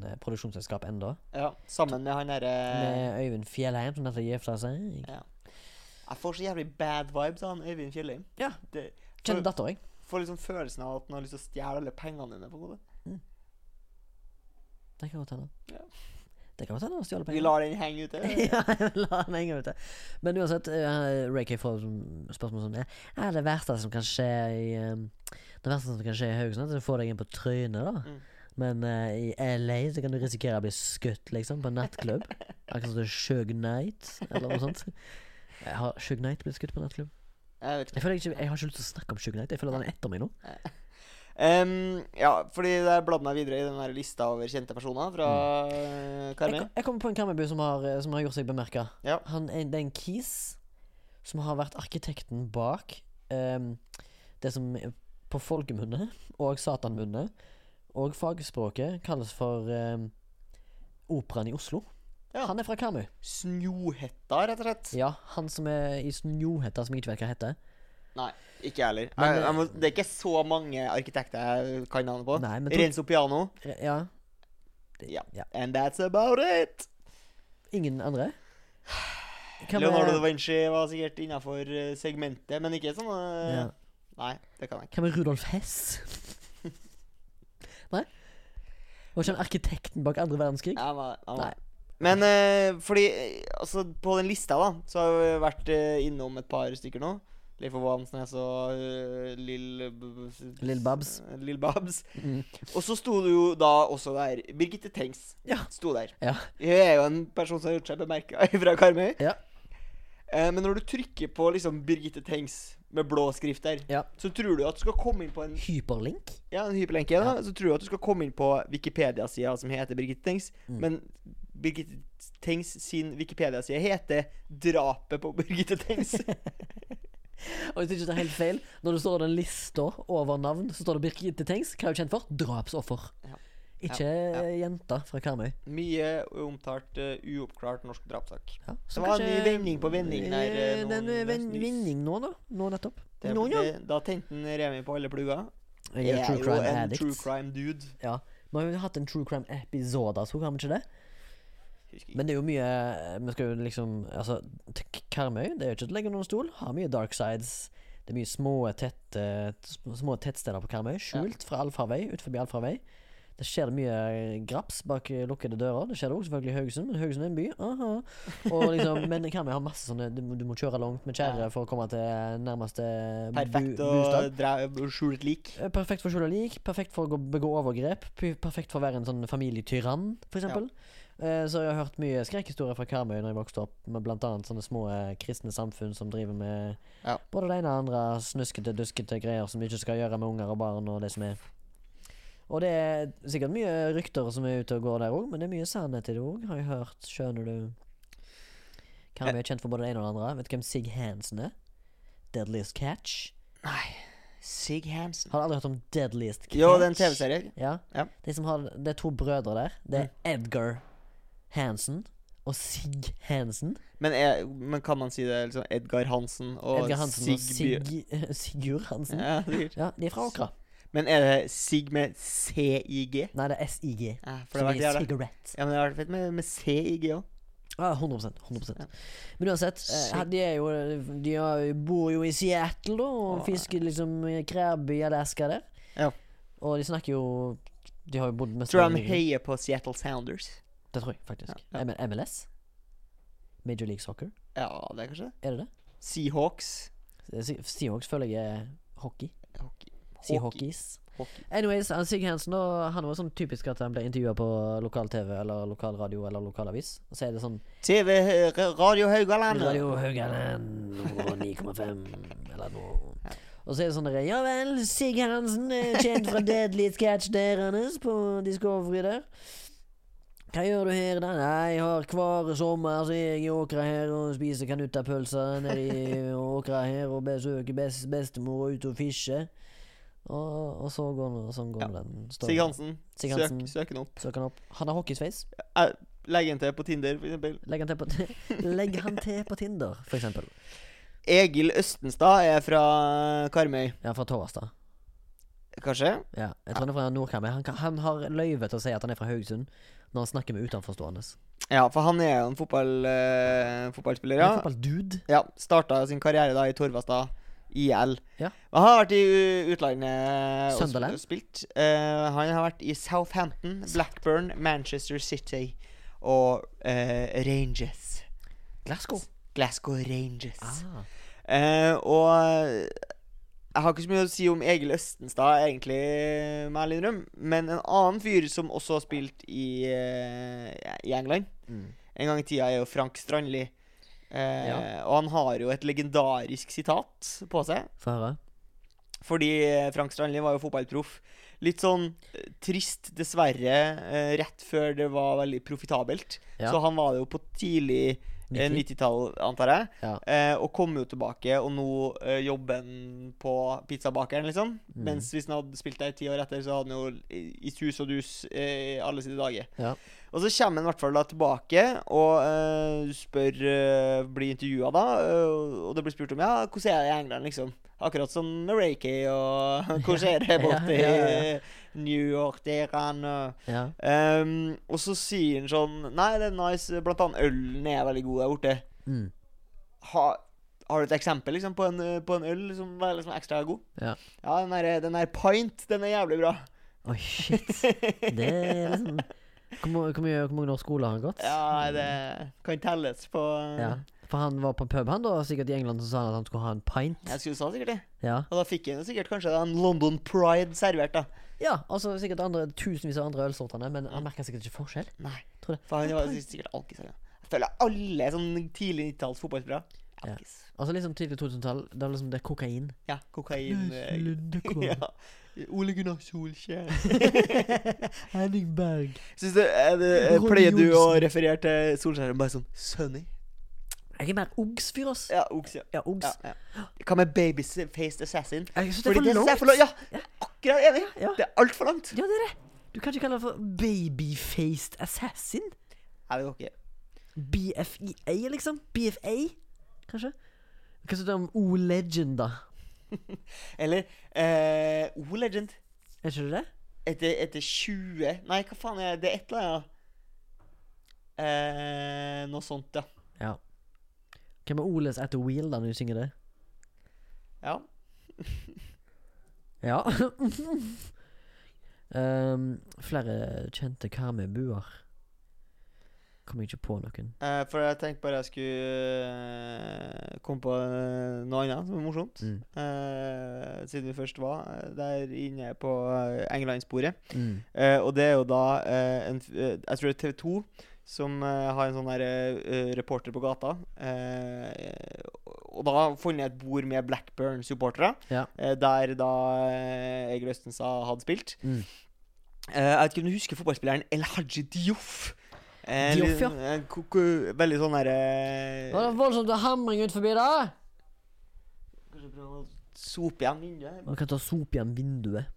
Speaker 1: eh, produksjonsselskap enda
Speaker 2: Ja, sammen med han derre
Speaker 1: Med Øyvind Fjellheim, som nettopp gifta seg.
Speaker 2: ja. Jeg får så jævlig bad vibes av han Øyvind Fjellheim.
Speaker 1: Ja.
Speaker 2: Det-
Speaker 1: Kjenner datter, jeg.
Speaker 2: Får liksom følelsen av at han har lyst til å stjele alle pengene dine. på en måte.
Speaker 1: Det kan godt hende.
Speaker 2: Ja.
Speaker 1: Det kan godt hende å stjåle
Speaker 2: Vi
Speaker 1: penger.
Speaker 2: lar den henge ute.
Speaker 1: ja, jeg la den henge ute. Men uansett, eh, Ray K får som- spørsmål som det. Er det verste som kan skje i eh, Det verste som kan skje i Haugesund, er at du får deg inn på trynet, da.
Speaker 2: Mm.
Speaker 1: Men eh, i LA så kan du risikere å bli skutt, liksom, på en nattklubb. Akkurat som Shug Knight, eller noe sånt. Jeg Har Shug Knight blitt skutt på nattklubb?
Speaker 2: Jeg vet ikke.
Speaker 1: Jeg, føler jeg, ikke, jeg har ikke lyst til å snakke om Shug Knight. Jeg føler han er etter meg nå.
Speaker 2: Ehm, ja, fordi jeg bladde meg videre i den her lista over kjente personer fra eh,
Speaker 1: Jeg,
Speaker 2: Karmøy.
Speaker 1: kom- jeg kommer på en Karmøybu som, har- eh, som har gjort seg bemerka.
Speaker 2: Ja.
Speaker 1: Han er, det er en kis som har vært arkitekten bak ehm, det som på folkemunne og satanmunne og fagspråket kalles for ehm, Operaen i Oslo.
Speaker 2: Ja.
Speaker 1: Han er fra Karmøy.
Speaker 2: Snohetta, rett og slett.
Speaker 1: Ja, han som er i Snohetta, som jeg ikke vet hva heter.
Speaker 2: Nei, ikke jeg heller.
Speaker 1: Men,
Speaker 2: jeg, jeg må,
Speaker 1: eh,
Speaker 2: det er ikke så mange arkitekter jeg kan navnet på.
Speaker 1: Nei, men to-
Speaker 2: Renzo Piano.
Speaker 1: Ja.
Speaker 2: Ja.
Speaker 1: Ja.
Speaker 2: And that's about it!
Speaker 1: Ingen andre? Hva med-
Speaker 2: Leonardo da Vinci var sikkert innafor segmentet, men ikke sånn eh,
Speaker 1: Ja.
Speaker 2: Nei, det kan jeg ikke.
Speaker 1: Hva med Rudolf Hess? Nei? Var ikke han arkitekten bak andre verdenskrig?
Speaker 2: Jeg var- jeg var-
Speaker 1: Nei.
Speaker 2: Men eh, fordi eh, Altså, på den lista, da, så har vi vært eh, innom et par stykker nå. Leif Ove Hansnes og eh, Lill B- eh,
Speaker 1: Lill Babs.
Speaker 2: Lill Babs.
Speaker 1: Mm.
Speaker 2: Og så sto det jo da også der Birgitte Tengs
Speaker 1: Ja.
Speaker 2: sto der.
Speaker 1: Ja.
Speaker 2: Hun er jo en person som har gjort seg bemerka fra Karmøy.
Speaker 1: Ja.
Speaker 2: Eh, men når du trykker på liksom Birgitte Tengs med blå skrift der,
Speaker 1: Ja.
Speaker 2: så tror du at du skal komme inn på en,
Speaker 1: Hyperlink?
Speaker 2: ja, en hyperlenke. Da, så tror du at du skal komme inn på Wikipedia-sida som heter Birgitte Tengs.
Speaker 1: Mm.
Speaker 2: Men Birgitte Tengs sin Wikipedia-side heter 'Drapet på Birgitte Tengs'.
Speaker 1: Og hvis ikke det er helt feil, når du står i den lista over navn, så står det Birgitte Tengs. Hva er hun kjent for? Drapsoffer.
Speaker 2: Ja.
Speaker 1: Ikke
Speaker 2: Ja,
Speaker 1: eh, jenta fra Karmøy.
Speaker 2: Mye omtalt eh, uoppklart norsk drapssak.
Speaker 1: Ja,
Speaker 2: Det var en ny vending på vending der, eh,
Speaker 1: Eh,
Speaker 2: nå
Speaker 1: Det er en
Speaker 2: nylig.
Speaker 1: ven- vending nå, da. Nå nettopp.
Speaker 2: Det,
Speaker 1: Nå, ja.
Speaker 2: det, da tente han Remi på alle plugger.
Speaker 1: Jeg er true crime
Speaker 2: en
Speaker 1: addict.
Speaker 2: true crime dude.
Speaker 1: Ja. Vi har jo hatt en true crime-episode, så har vi ikke det?
Speaker 2: Husker ikke.
Speaker 1: Men det er jo mye Vi skal jo liksom Altså, t- Karmøy det er jo ikke til å legge under stol. Har mye dark sides. Det er mye små, tett, eh, sm- små tettsteder på Karmøy. Skjult fra allfarvei, ut forbi allfarvei. Det skjer det mye graps bak eh, lukkede dører. Det skjer det også selvfølgelig i Haugesund, men Haugesund er en by. Aha. Og liksom, men Karmøy har masse sånne Du, må- du må kjøre langt med kjerre for å komme til eh, nærmeste bu-
Speaker 2: Perfekt å
Speaker 1: bostad.
Speaker 2: dra- skjule et lik.
Speaker 1: Eh, Perfekt for å skjule lik, perfekt for å gå- begå overgrep, p- perfekt for å være en sånn familietyrann, for eksempel. Eh, Så jeg har hørt mye skrekkhistorier fra Karmøy når jeg vokste opp, med blant annet sånne små eh, kristne samfunn som driver med
Speaker 2: Ja.
Speaker 1: både det ene og det andre snuskete, duskete greier som ikke skal gjøre med unger og barn og det som er. Og det er sikkert mye rykter som er ute og går der òg, men det er mye sannhet i det òg, har jeg hørt. Skjønner du? Karmøy er kjent for både det ene og det andre. Vet du hvem Sig Hansen er? Deadliest Catch.
Speaker 2: Sig Hansen.
Speaker 1: Har du aldri hørt om Deadliest Catch?
Speaker 2: Jo, det er en TV-serie.
Speaker 1: Ja.
Speaker 2: Ja. Mm.
Speaker 1: De som har, det er to brødre der. Det er Edgar Hansen og Sig Hansen.
Speaker 2: Men, er, men kan man si det liksom Edgar Hansen og
Speaker 1: Edgar Hansen
Speaker 2: Sig Bjør-
Speaker 1: og Sig, Sigurd Hansen.
Speaker 2: Ja, sikkert.
Speaker 1: Ja, de er fra Åkra.
Speaker 2: Men er det Sig med CIG?
Speaker 1: Nei, det er SIG.
Speaker 2: Ja, for
Speaker 1: Som
Speaker 2: det har vært
Speaker 1: er
Speaker 2: jævla
Speaker 1: cigarette.
Speaker 2: Ja, men det har vært fett med, med CIG òg.
Speaker 1: Ja, 100, 100%. Men uansett, eh, de, er jo, de har- bor jo i Seattle, da, og fisker liksom krabbe i Alaska der.
Speaker 2: Ja.
Speaker 1: Og de snakker jo De har jo bodd mest
Speaker 2: Tror jeg
Speaker 1: mulig-
Speaker 2: de heier på Seattle Sounders.
Speaker 1: Det tror jeg faktisk.
Speaker 2: Ja, ja.
Speaker 1: M- MLS? Major League Soccer?
Speaker 2: Ja, det er kanskje det.
Speaker 1: Er det det?
Speaker 2: Seahawks.
Speaker 1: Se- Seahawks føler jeg er hockey.
Speaker 2: Hockey.
Speaker 1: Seahawkies.
Speaker 2: Hockey.
Speaker 1: Anyways, han Sig Hansen og han var sånn typisk at han ble intervjua på lokal-TV eller lokalradio eller lokalavis. Og så er det sånn
Speaker 2: TV eh, Radio Haugaland.
Speaker 1: Radio Haugaland 9,5 eller noe. Og så er det sånn der, Ja vel, Sig Hansen er kjent fra Deadly Sketch deres på Discovery der. Hva gjør du her da? Nei, jeg har hver sommer så er jeg i åkra her og spiser kanuttapølser nede i åkra her og besøker best, bestemor og ute og fisker. Og, og så går det, sånn går
Speaker 2: Ja.
Speaker 1: den. storyen.
Speaker 2: Sig Hansen.
Speaker 1: Sig Hansen.
Speaker 2: Søk, søk han opp.
Speaker 1: Søk han opp. Han har hockeysveis.
Speaker 2: Eh, Legg han til på Tinder, for eksempel.
Speaker 1: Legg han til på, legg han til på Tinder, for eksempel.
Speaker 2: Egil Østenstad er fra Karmøy,
Speaker 1: Ja, fra Torastad.
Speaker 2: kanskje?
Speaker 1: Ja, jeg tror han er fra Nordkammer. Han, kan- han har løyve til å si at han er fra Haugesund når han snakker med utenforstående.
Speaker 2: Ja, for han er jo en fotball, eh, fotballspiller,
Speaker 1: Ja.
Speaker 2: ja.
Speaker 1: Fotballdude.
Speaker 2: ja. Starta sin karriere da i Torvastad. IL.
Speaker 1: Ja.
Speaker 2: Men Han har vært i u- utlandet og sp-
Speaker 1: Sunderland.
Speaker 2: og spilt. Eh, han har vært i Southampton, Blackburn, Manchester City og eh, Rangers.
Speaker 1: Glasgow.
Speaker 2: Glasgow Rangers.
Speaker 1: Ah.
Speaker 2: Eh, og jeg har ikke så mye å si om Egil Østenstad, egentlig, må jeg ærlig innrømme. Men en annen fyr som også har spilt i, eh, i England
Speaker 1: Mm.
Speaker 2: en gang i tida, er jo Frank Strandli. Eh, Og han har jo et legendarisk sitat på seg.
Speaker 1: Få høre.
Speaker 2: Fordi eh, Frank Strandli var jo fotballproff. Litt sånn eh, trist, dessverre, eh, rett før det var veldig profitabelt.
Speaker 1: Ja.
Speaker 2: Så han var det jo på tidlig eh,
Speaker 1: 90.
Speaker 2: 90-tall, antar jeg.
Speaker 1: Ja.
Speaker 2: Eh, og kom jo tilbake, og nå eh, jobber han på pizzabakeren, liksom.
Speaker 1: Mm.
Speaker 2: Mens hvis han hadde spilt der ti år etter, så hadde han jo i, i sus og dus eh, i alle sine dager.
Speaker 1: Ja.
Speaker 2: Og så kommer han i hvert fall da tilbake og eh, spør eh, Blir intervjua, da. eh, og det blir spurt om ja, hvordan er det i England, liksom. Akkurat som Reiki og Hvordan er det borte
Speaker 1: Ja, ja, ja,
Speaker 2: i New York, der han og
Speaker 1: ja.
Speaker 2: Ehm, og så sier han sånn Nei, det er nice. Blant annet ølen er veldig god der borte.
Speaker 1: Mm.
Speaker 2: Ha, har du et eksempel liksom, på, en, eh, på en øl som er liksom ekstra god?
Speaker 1: Ja.
Speaker 2: ja den, der, den der pint, den er jævlig bra.
Speaker 1: Oi, shit. Det er liksom Hvor ma- hvor mye- hvor mange år skole har han gått?
Speaker 2: Ja, nei, det kan telles på
Speaker 1: Ja. For han var på en pub, han da, sikkert i England, så sa han at han skulle ha en pint.
Speaker 2: Jeg skulle sa sikkert det.
Speaker 1: Ja,
Speaker 2: Og da fikk jeg sikkert kanskje en London Pride servert, da.
Speaker 1: ja altså sikkert andre, tusenvis av andre ølsortene, men han merka sikkert ikke forskjell.
Speaker 2: Nei,
Speaker 1: Tror det.
Speaker 2: for han var sikkert alkis. han. Jeg føler alle sånn tidlig 90-talls fotballspillere
Speaker 1: Ja.
Speaker 2: Alkis.
Speaker 1: Altså liksom tidlig 2000-tall, det var liksom det er kokain.
Speaker 2: Ja, kokain. eh, Ja. Ole Gunnar Solskjær.
Speaker 1: Henning Berg.
Speaker 2: Syns du, er det, er,
Speaker 1: Ronny
Speaker 2: pleier du å
Speaker 1: Olsen.
Speaker 2: referere til Solskjær bare sånn Sunny?
Speaker 1: Jeg er mer Ogs-fyr, ass.
Speaker 2: Ja, Oks, ja.
Speaker 1: Ja, Ogs.
Speaker 2: ja, ja. Hva med Babyfaced Assassin?
Speaker 1: Jeg synes det
Speaker 2: Fordi
Speaker 1: er for
Speaker 2: synes jeg er
Speaker 1: langt.
Speaker 2: for langt. Ja, akkurat enig.
Speaker 1: Ja.
Speaker 2: Det er altfor langt.
Speaker 1: Ja, det er det. Du kan ikke kalle det for babyfaced assassin.
Speaker 2: Nei, det går ikke.
Speaker 1: BFEA, liksom. BFA, kanskje. Hva synes du om O-legend, da?
Speaker 2: Eller eh, O-Legend.
Speaker 1: Er ikke det det?
Speaker 2: Etter, etter 20 Nei, hva faen er det? Det er et eller annet. Eh, noe sånt, ja.
Speaker 1: Ja. Hvem er Oles at the wheel, da, når du synger det?
Speaker 2: Ja.
Speaker 1: Ja. um, flere kjente karmøybuer. Kommer ikke på noen.
Speaker 2: Eh, for jeg tenkte bare jeg skulle eh, komme på eh, noe annet som er morsomt.
Speaker 1: Mm.
Speaker 2: Eh, siden vi først var eh, der inne på eh, England-sporet.
Speaker 1: Mm.
Speaker 2: Eh, og det er jo da eh, en, f- eh, Jeg tror det er TV 2 som eh, har en sånn der, eh, reporter på gata. Eh, og da har funnet et bord med Blackburn-supportere,
Speaker 1: Ja.
Speaker 2: eh, der da eh, Egil Østenstad hadde spilt.
Speaker 1: Mm.
Speaker 2: Eh, jeg vet ikke om du husker fotballspilleren El Haji Dioff? Eh,
Speaker 1: Diouf,
Speaker 2: litt-
Speaker 1: ja.
Speaker 2: en ko- ko- Veldig sånn derre
Speaker 5: Var det voldsomt hamring ut forbi der?
Speaker 2: Kanskje prøve å sope igjen vinduet?
Speaker 1: Man kan ta sop igjen vinduet.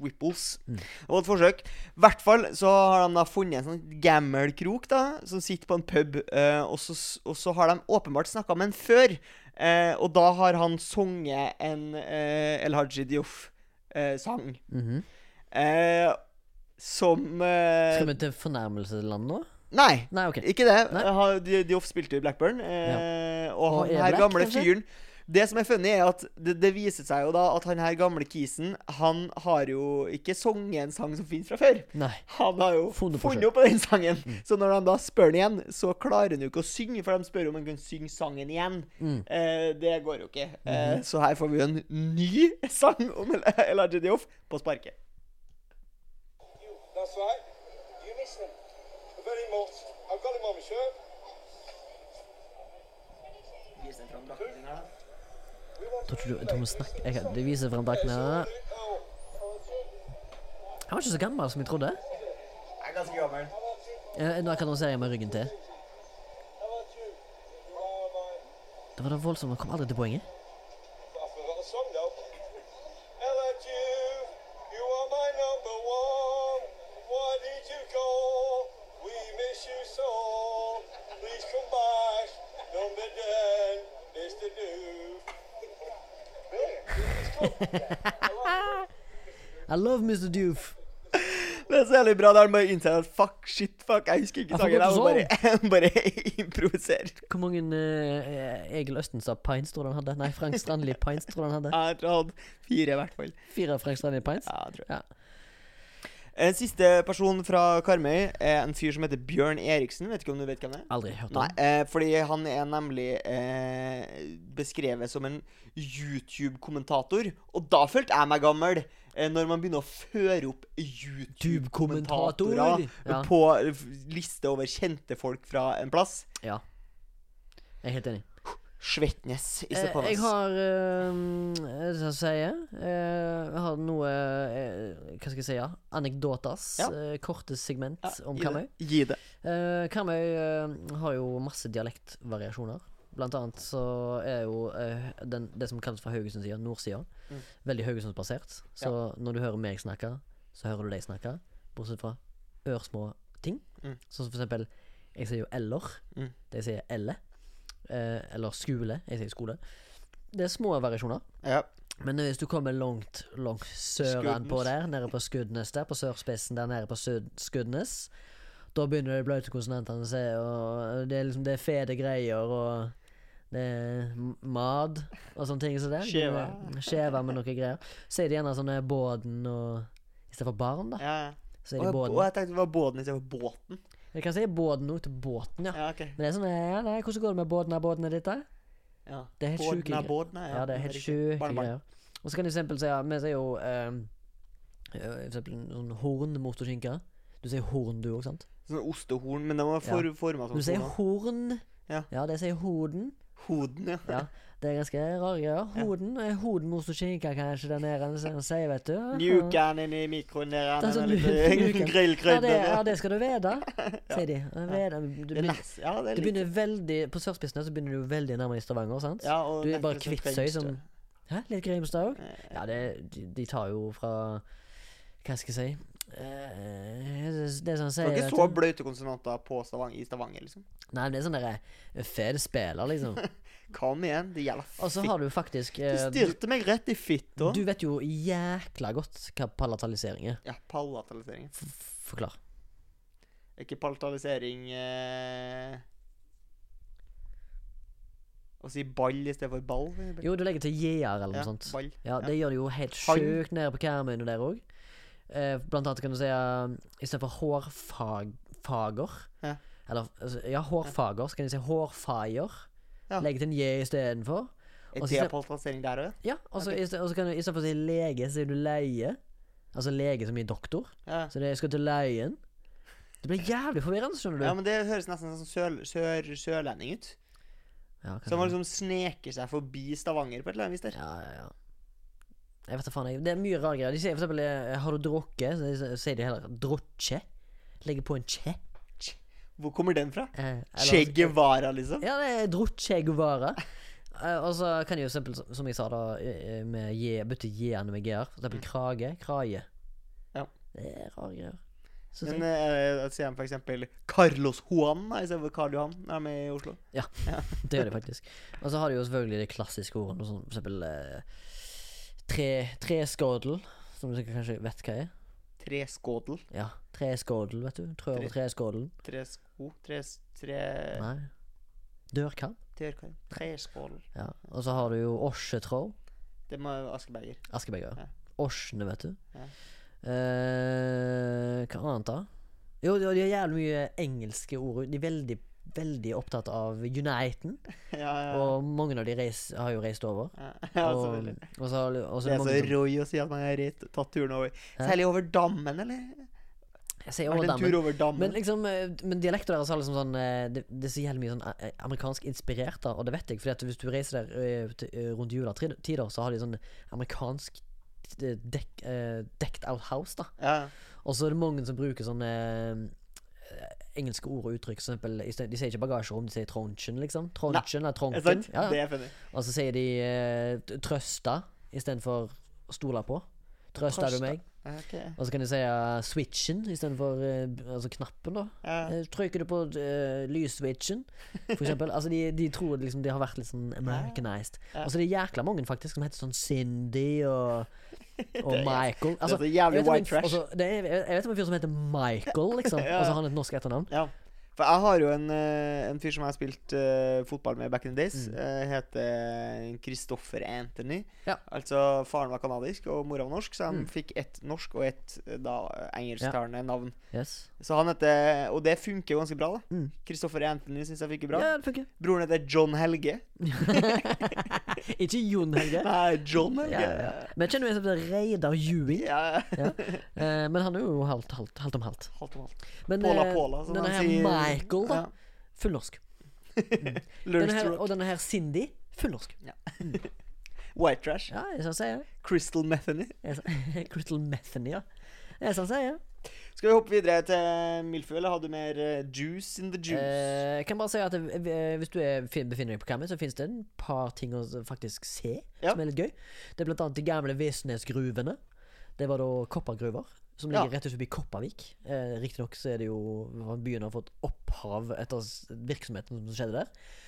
Speaker 2: Whipples.
Speaker 1: Mm.
Speaker 2: Og et forsøk. I hvert fall så har de da funnet en sånn gammel krok da, som sitter på en pub, eh, og, så, s- og så har de åpenbart snakka med en før. eh, og da har han sunget en eh, El eh, Haji Dioff-sang.
Speaker 1: Mhm.
Speaker 2: eh, som eh,
Speaker 1: Skal vi til fornærmelsesland nå?
Speaker 2: Nei,
Speaker 1: Nei, OK.
Speaker 2: ikke det.
Speaker 1: Nei.
Speaker 2: Ha- De, Dioff spilte jo i Blackburn, eh, og
Speaker 1: Og
Speaker 2: han
Speaker 1: er
Speaker 2: her
Speaker 1: black,
Speaker 2: gamle
Speaker 1: kanskje?
Speaker 2: fyren det som er funny, er at det, det viser seg jo da at han her gamle kisen Han har jo ikke sunget en sang som finnes fra før.
Speaker 1: Nei.
Speaker 2: Han har jo
Speaker 1: Funnet
Speaker 2: funnet,
Speaker 1: på
Speaker 2: opp den sangen. Så når han da spør den igjen, så klarer han jo ikke å synge, for de spør om han kan synge sangen igjen. Eh, det går jo ikke. Eh, så her får vi jo en ny sang om El- Elijah Dioff på sparket.
Speaker 6: That's right. You listen. Very much. I've got him on my shirt.
Speaker 1: Tror ikke du jeg tror vi snakker jeg, kan- Det viser frem drakten her.
Speaker 6: Oh,
Speaker 1: Han var ikke så gammel som jeg trodde.
Speaker 2: Jeg er ganske gammel.
Speaker 1: Eh, Nå annonserer jeg med ryggen til.
Speaker 6: how about you? Oh, my.
Speaker 1: Det var da voldsomt. Han kom aldri til poenget.
Speaker 6: I forgot the song now. Hello, you. You are my number one. Why did you go? We miss you so. Please come back. Number 10 is the new. Brilliant. It's good.
Speaker 1: I love Mr. Doof.
Speaker 2: Det er så jævlig bra der han bare innser at fuck, shit, fuck, jeg husker ikke
Speaker 1: Jeg får
Speaker 2: sangen.
Speaker 1: gå
Speaker 2: Han
Speaker 1: til
Speaker 2: bare, han bare improviserer.
Speaker 1: Hvor mange eh, Egil Østenstad Pines tror du han hadde? Nei, Frank Strandli Pines tror du han hadde?
Speaker 2: Jeg tror han hadde fire, i hvert fall.
Speaker 1: Fire Frank Strandli Pines?
Speaker 2: Ja, jeg tror
Speaker 1: Ja.
Speaker 2: En siste person fra Karmøy er en fyr som heter Bjørn Eriksen. Vet ikke om du vet hvem det er?
Speaker 1: Aldri hørt om.
Speaker 2: Nei, eh, fordi han er nemlig eh, beskrevet som en YouTube-kommentator. Og da følte jeg meg gammel, eh, når man begynner å føre opp YouTube-kommentatorer
Speaker 1: Tube-kommentatorer, ja.
Speaker 2: på eh, liste over kjente folk fra en plass.
Speaker 1: Ja. Jeg er helt enig.
Speaker 2: Svetnes
Speaker 1: Eh,
Speaker 2: i
Speaker 1: jeg
Speaker 2: Stepanes.
Speaker 1: har eh, Hva skal jeg si? Eh, jeg har noe eh, Hva skal jeg si? ja? Anekdotas.
Speaker 2: Ja.
Speaker 1: eh, korte segment om
Speaker 2: Gi
Speaker 1: Karmøy.
Speaker 2: det. Gi det.
Speaker 1: Eh, Karmøy eh, har jo masse dialektvariasjoner. Blant annet så er jo eh, den, det som kalles for Haugesundsida, nordsida,
Speaker 2: Mm.
Speaker 1: veldig Haugesundsbasert. Så når du hører meg snakke, så hører du deg snakke. Bortsett fra ørsmå ting.
Speaker 2: Mm.
Speaker 1: Sånn som for eksempel Jeg sier jo eller.
Speaker 2: Mm.
Speaker 1: De sier elle. Eh, eller skule. Jeg sier skole. Det er små variasjoner.
Speaker 2: Ja.
Speaker 1: Men hvis du kommer langt, langt søren på
Speaker 2: Skudenes.
Speaker 1: der, nede på Skudenes der, på sørspissen der nede på Sud- Skudenes, da begynner de blaute konsonantene å se, og det er liksom det er fede greier, og det er m- mad, og sånne ting som det.
Speaker 2: Skjeva.
Speaker 1: Det er Skjeva med noe greier. Så er det gjerne sånne båden og I stedet for barn, da.
Speaker 2: ja.
Speaker 1: Så
Speaker 2: Og
Speaker 1: er det
Speaker 2: jeg, og
Speaker 1: båden.
Speaker 2: jeg tenkte det var båten istedenfor båten.
Speaker 1: Jeg kan si båden nå til båten, ja.
Speaker 2: Ja, ok.
Speaker 1: Men det er sånn ja, nei, Hvordan går det med båden av båten er ditt, da?
Speaker 2: Ja.
Speaker 1: Det er helt
Speaker 2: Båten
Speaker 1: sjuke
Speaker 2: er
Speaker 1: greier.
Speaker 2: båten, ja.
Speaker 1: Ja, det er helt
Speaker 2: riktig.
Speaker 1: sjuke
Speaker 2: Barnebarn.
Speaker 1: greier. Og så kan du for eksempel si ja, Vi sier jo eh, eh, for eksempel en sånn horn motorskinke. Du sier horn, du òg, sant?
Speaker 2: Sånn ostehorn, men de var for, forma som sånn,
Speaker 1: Du sier
Speaker 2: horn.
Speaker 1: horn.
Speaker 2: Ja.
Speaker 1: det sier hoden.
Speaker 2: Hoden, ja.
Speaker 1: Ja, Det er ganske rare greier. Hoden ja. hoden motorskinke, kanskje, der nede. Som de sier, vet du.
Speaker 2: Mjukeren inn i mikroen der.
Speaker 1: Det er sånn
Speaker 2: den er litt eh,
Speaker 1: mjuken. Ja,
Speaker 2: grillkrydder.
Speaker 1: det, ja, det skal du vite, sier de. Vede. Du,
Speaker 2: Det er
Speaker 1: begynner,
Speaker 2: nes- ja, det
Speaker 1: du
Speaker 2: er litt
Speaker 1: begynner veldig På sørspissen her så begynner du veldig nærmere i Stavanger, sant?
Speaker 2: ja, og
Speaker 1: Du er
Speaker 2: nesten
Speaker 1: bare
Speaker 2: litt sånn Eh.
Speaker 1: Kvitsøy som
Speaker 2: Grimstø.
Speaker 1: Hæ? Litt Grimstad òg? Ja, det, de, de tar jo fra Hva skal jeg si Eh, Det er sånn
Speaker 2: Det
Speaker 1: sier
Speaker 2: var ikke
Speaker 1: vet
Speaker 2: så
Speaker 1: du.
Speaker 2: bløte konsonanter på Stavanger, i Stavanger, liksom.
Speaker 1: Nei, det er sånn derre Fed spiller, liksom.
Speaker 2: Kom igjen, det gjelder
Speaker 1: Og så
Speaker 2: fitt.
Speaker 1: har du faktisk
Speaker 2: Du
Speaker 1: eh,
Speaker 2: styrte meg rett i fitta.
Speaker 1: Du vet jo jækla godt hva palatalisering er.
Speaker 2: Ja, palatalisering.
Speaker 1: F f- forklar.
Speaker 2: Er Ikke palatalisering eh... Å si ball i stedet for ball. for eksempel.
Speaker 1: Jo, du legger til JR eller noe
Speaker 2: ja,
Speaker 1: sånt.
Speaker 2: Ball.
Speaker 1: Ja, det gjør det jo helt
Speaker 2: Han-
Speaker 1: sjukt nede på Karmøy og der òg. Eh, blant annet kan du si uh, istedenfor hårfager
Speaker 2: Ja.
Speaker 1: Eller altså, ja, hårfager, så kan de si hårfager.
Speaker 2: Ja.
Speaker 1: Legge til en J istedenfor.
Speaker 2: Er
Speaker 1: og så-
Speaker 2: det palatalisering der òg?
Speaker 1: Ja, og så i sted- og så kan du istedenfor å si lege, så sier du leie. Altså lege som i doktor.
Speaker 2: Ja.
Speaker 1: Så det jeg skal til leien. Det blir jævlig forvirrende, skjønner du.
Speaker 2: ja, men det høres nesten sånn sør, sør, sørlending ut.
Speaker 1: Ja, kanskje.
Speaker 2: Så man liksom sneker seg forbi Stavanger på et eller annet vis der.
Speaker 1: ja, ja, ja. Jeg vet da faen. Jeg. Det er mye rare greier. De sier for eksempel eh, 'har du drukket', så de- så sier de heller 'drokkje'. Legger på en 'kje'.
Speaker 2: Hvor kommer den fra?
Speaker 1: Eh, eller-
Speaker 2: Che Guevara, liksom?
Speaker 1: Ja, det er drokkje Guevara. Eh, og så kan de jo for eksempel, som- som jeg sa da, eh, eh, med J- bytte J-ene med G-er. For eksempel krage, kraje.
Speaker 2: Mm. Ja.
Speaker 1: Det er rare greier. Synes jeg.
Speaker 2: Men eh, sier han for eksempel Carlos Juan da, istedenfor Karl Johan når han er i Oslo?
Speaker 1: Ja,
Speaker 2: eh,
Speaker 1: det gjør de faktisk. Og så har de jo selvfølgelig de klassiske ordene, som for eksempel eh, tre, treskodel, som du sikkert kanskje vet hva er.
Speaker 2: Treskådel.
Speaker 1: Ja, treskodel, vet du. Trør over treskodelen.
Speaker 2: Tresko Tres... Tre...
Speaker 1: Nei. Dørkam.
Speaker 2: Tørkarm. Treskål.
Speaker 1: Ja. Og så har du jo osjetråd.
Speaker 2: Det må være Askeberger.
Speaker 1: Askeberger.
Speaker 2: Ja.
Speaker 1: Ja. Orsene, vet du.
Speaker 2: Ja.
Speaker 1: Eh, hva annet, da? Jo, de de har jævlig mye engelske ord. De er veldig, veldig opptatt av Uniten.
Speaker 2: Ja, ja.
Speaker 1: Og mange av de reis, har jo reist over.
Speaker 2: ja, ja
Speaker 1: og,
Speaker 2: selvfølgelig.
Speaker 1: og så, har- og så er
Speaker 2: Det er
Speaker 1: det
Speaker 2: så
Speaker 1: mange som
Speaker 2: roy å si at man har rett- tatt turen over Særlig over dammen, eller?
Speaker 1: Jeg sier
Speaker 2: Vært en
Speaker 1: Årdammen.
Speaker 2: tur over dammen.
Speaker 1: Men, liksom, eh, men dialekten deres har liksom sånn eh, Det, det er så jævlig mye sånn eh, amerikansk inspirert, da, og det vet jeg, Fordi at hvis du reiser der eh, til- eh, rundt juletider, så har de sånn amerikansk eh, dekk, eh, decked out house, da.
Speaker 2: Ja.
Speaker 1: Og så er det mange som bruker sånne eh, engelske ord og uttrykk, som eksempel i sted- De sier ikke bagasjerom, de sier tronchen, liksom. Tronchen er
Speaker 2: Er det
Speaker 1: tronken.
Speaker 2: sant?
Speaker 1: Ja,
Speaker 2: Det
Speaker 1: ja.
Speaker 2: er funny.
Speaker 1: Og så sier de eh, t- trøsta istedenfor stola på. Trøsta
Speaker 2: Trøsta.
Speaker 1: du meg?
Speaker 2: Ok.
Speaker 1: Og så kan de si eh, switchen istedenfor eh, b- altså knappen, da.
Speaker 2: Ja.
Speaker 1: Eh, Trykker du på uh, lysswitchen, for eksempel. altså, de, de tror liksom de har vært litt sånn americanized. Og så er det jækla mange faktisk som heter sånn Cindy og og Michael. Altså,
Speaker 2: Det er så jævlig
Speaker 1: jeg vet om en-
Speaker 2: white trash.
Speaker 1: Altså, det er, jeg vet om en fyr som heter Michael, liksom.
Speaker 2: Ja, ja.
Speaker 1: Altså han har et norsk etternavn.
Speaker 2: Ja. For jeg har jo en, eh, en fyr som jeg har spilt eh, fotball med back in the days. eh, heter Christoffer Anthony.
Speaker 1: Mm. Ja.
Speaker 2: Altså Faren var kanadisk, og mora var norsk, så han
Speaker 1: Mm.
Speaker 2: fikk ett norsk og ett eh, da, engelsktalende navn.
Speaker 1: Yes.
Speaker 2: Så han heter, Og det funker jo ganske bra. da
Speaker 1: Mm.
Speaker 2: Christoffer Anthony syns jeg funker bra.
Speaker 1: Ja, det funker.
Speaker 2: Broren heter John Helge.
Speaker 1: Ikke Jon Helge.
Speaker 2: Nei, John
Speaker 1: Ja,
Speaker 2: Helge.
Speaker 1: ja. ja. Men kjenner du en som heter Reidar Juel?
Speaker 2: Ja,
Speaker 1: Ja. Eh, men han er jo halvt, halvt, halvt om halvt.
Speaker 2: Halvt om halvt.
Speaker 1: Men
Speaker 2: Påla
Speaker 1: eh,
Speaker 2: Påla, som
Speaker 1: denne
Speaker 2: de
Speaker 1: her
Speaker 2: sier.
Speaker 1: Michael, da.
Speaker 2: Ja.
Speaker 1: Full norsk. Denne her,
Speaker 2: Lurstruck.
Speaker 1: og denne her Cindy. Full norsk.
Speaker 2: White Trash.
Speaker 1: Ja, det er sånn sier jeg.
Speaker 2: Crystal Metheny.
Speaker 1: det er sånn- Crystal Metheny, ja. Det er sånn sier jeg.
Speaker 2: Skal vi hoppe videre til Milfø, eller har du mer eh, juice in the juice?
Speaker 1: Eh, jeg kan bare si at eh, hvis du er, fin- befinner deg på Kammen, så finnes det en par ting å faktisk se
Speaker 2: Ja.
Speaker 1: som er litt gøy. Det er blant annet de gamle Vesnesgruvene. Det var da koppergruver som
Speaker 2: Ja.
Speaker 1: ligger rett ut forbi Kopervik. Eh, Riktignok så er det jo byen har fått opphav etter s- virksomheten som skjedde der.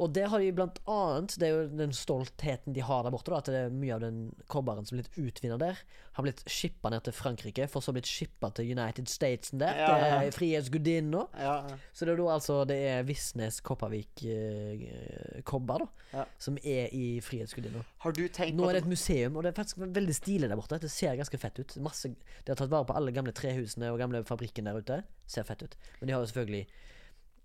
Speaker 1: Og det har de blant annet Det er jo den stoltheten de har der borte, da, at det er mye av den kobberen som er blitt utvinna der, har blitt shippa ned til Frankrike, for så blitt shippa til United States der,
Speaker 2: Ja, ja.
Speaker 1: til frihetsgudinna.
Speaker 2: Ja,
Speaker 1: Så det er da altså Det er Visnes, Kopervik, eh, Kobber, da.
Speaker 2: Ja.
Speaker 1: Som er i Frihetsgudinna.
Speaker 2: Har du tenkt
Speaker 1: Nå
Speaker 2: på
Speaker 1: er det
Speaker 2: at
Speaker 1: et museum, og det er faktisk veldig stilig der borte. Det ser ganske fett ut. Masse, de har tatt vare på alle gamle trehusene og gamle fabrikken der ute. Ser fett ut. Men de har jo selvfølgelig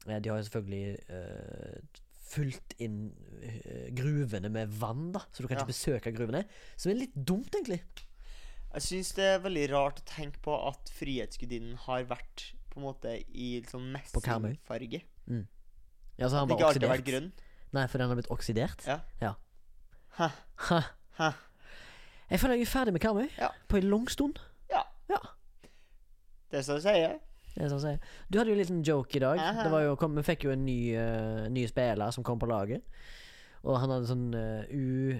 Speaker 1: eh, De har jo selvfølgelig eh, fulgt inn eh, gruvene med vann, da. Så du kan
Speaker 2: Ja.
Speaker 1: ikke besøke gruvene. Som er litt dumt, egentlig.
Speaker 2: Jeg syns det er veldig rart å tenke på at Frihetsgudinnen har vært på en måte i litt sånn
Speaker 1: På Karmøy.
Speaker 2: messingfarge.
Speaker 1: Ja, så han
Speaker 2: Det
Speaker 1: var
Speaker 2: ikke alltid
Speaker 1: oksidert.
Speaker 2: vært grønn.
Speaker 1: Nei, fordi han har blitt oksidert.
Speaker 2: Ja.
Speaker 1: ja.
Speaker 2: Hæ.
Speaker 1: Ha.
Speaker 2: Hæ.
Speaker 1: Jeg føler jeg er ferdig med Karmøy.
Speaker 2: Ja.
Speaker 1: På en lang stund.
Speaker 2: Ja.
Speaker 1: Ja.
Speaker 2: Det er sånn jeg sier.
Speaker 1: Det er sånn å si. Du hadde jo en liten joke i dag.
Speaker 2: Aha.
Speaker 1: Det var jo, kom, vi fikk jo en ny, eh, ny spiller som kom på laget. Og han hadde sånn eh, u...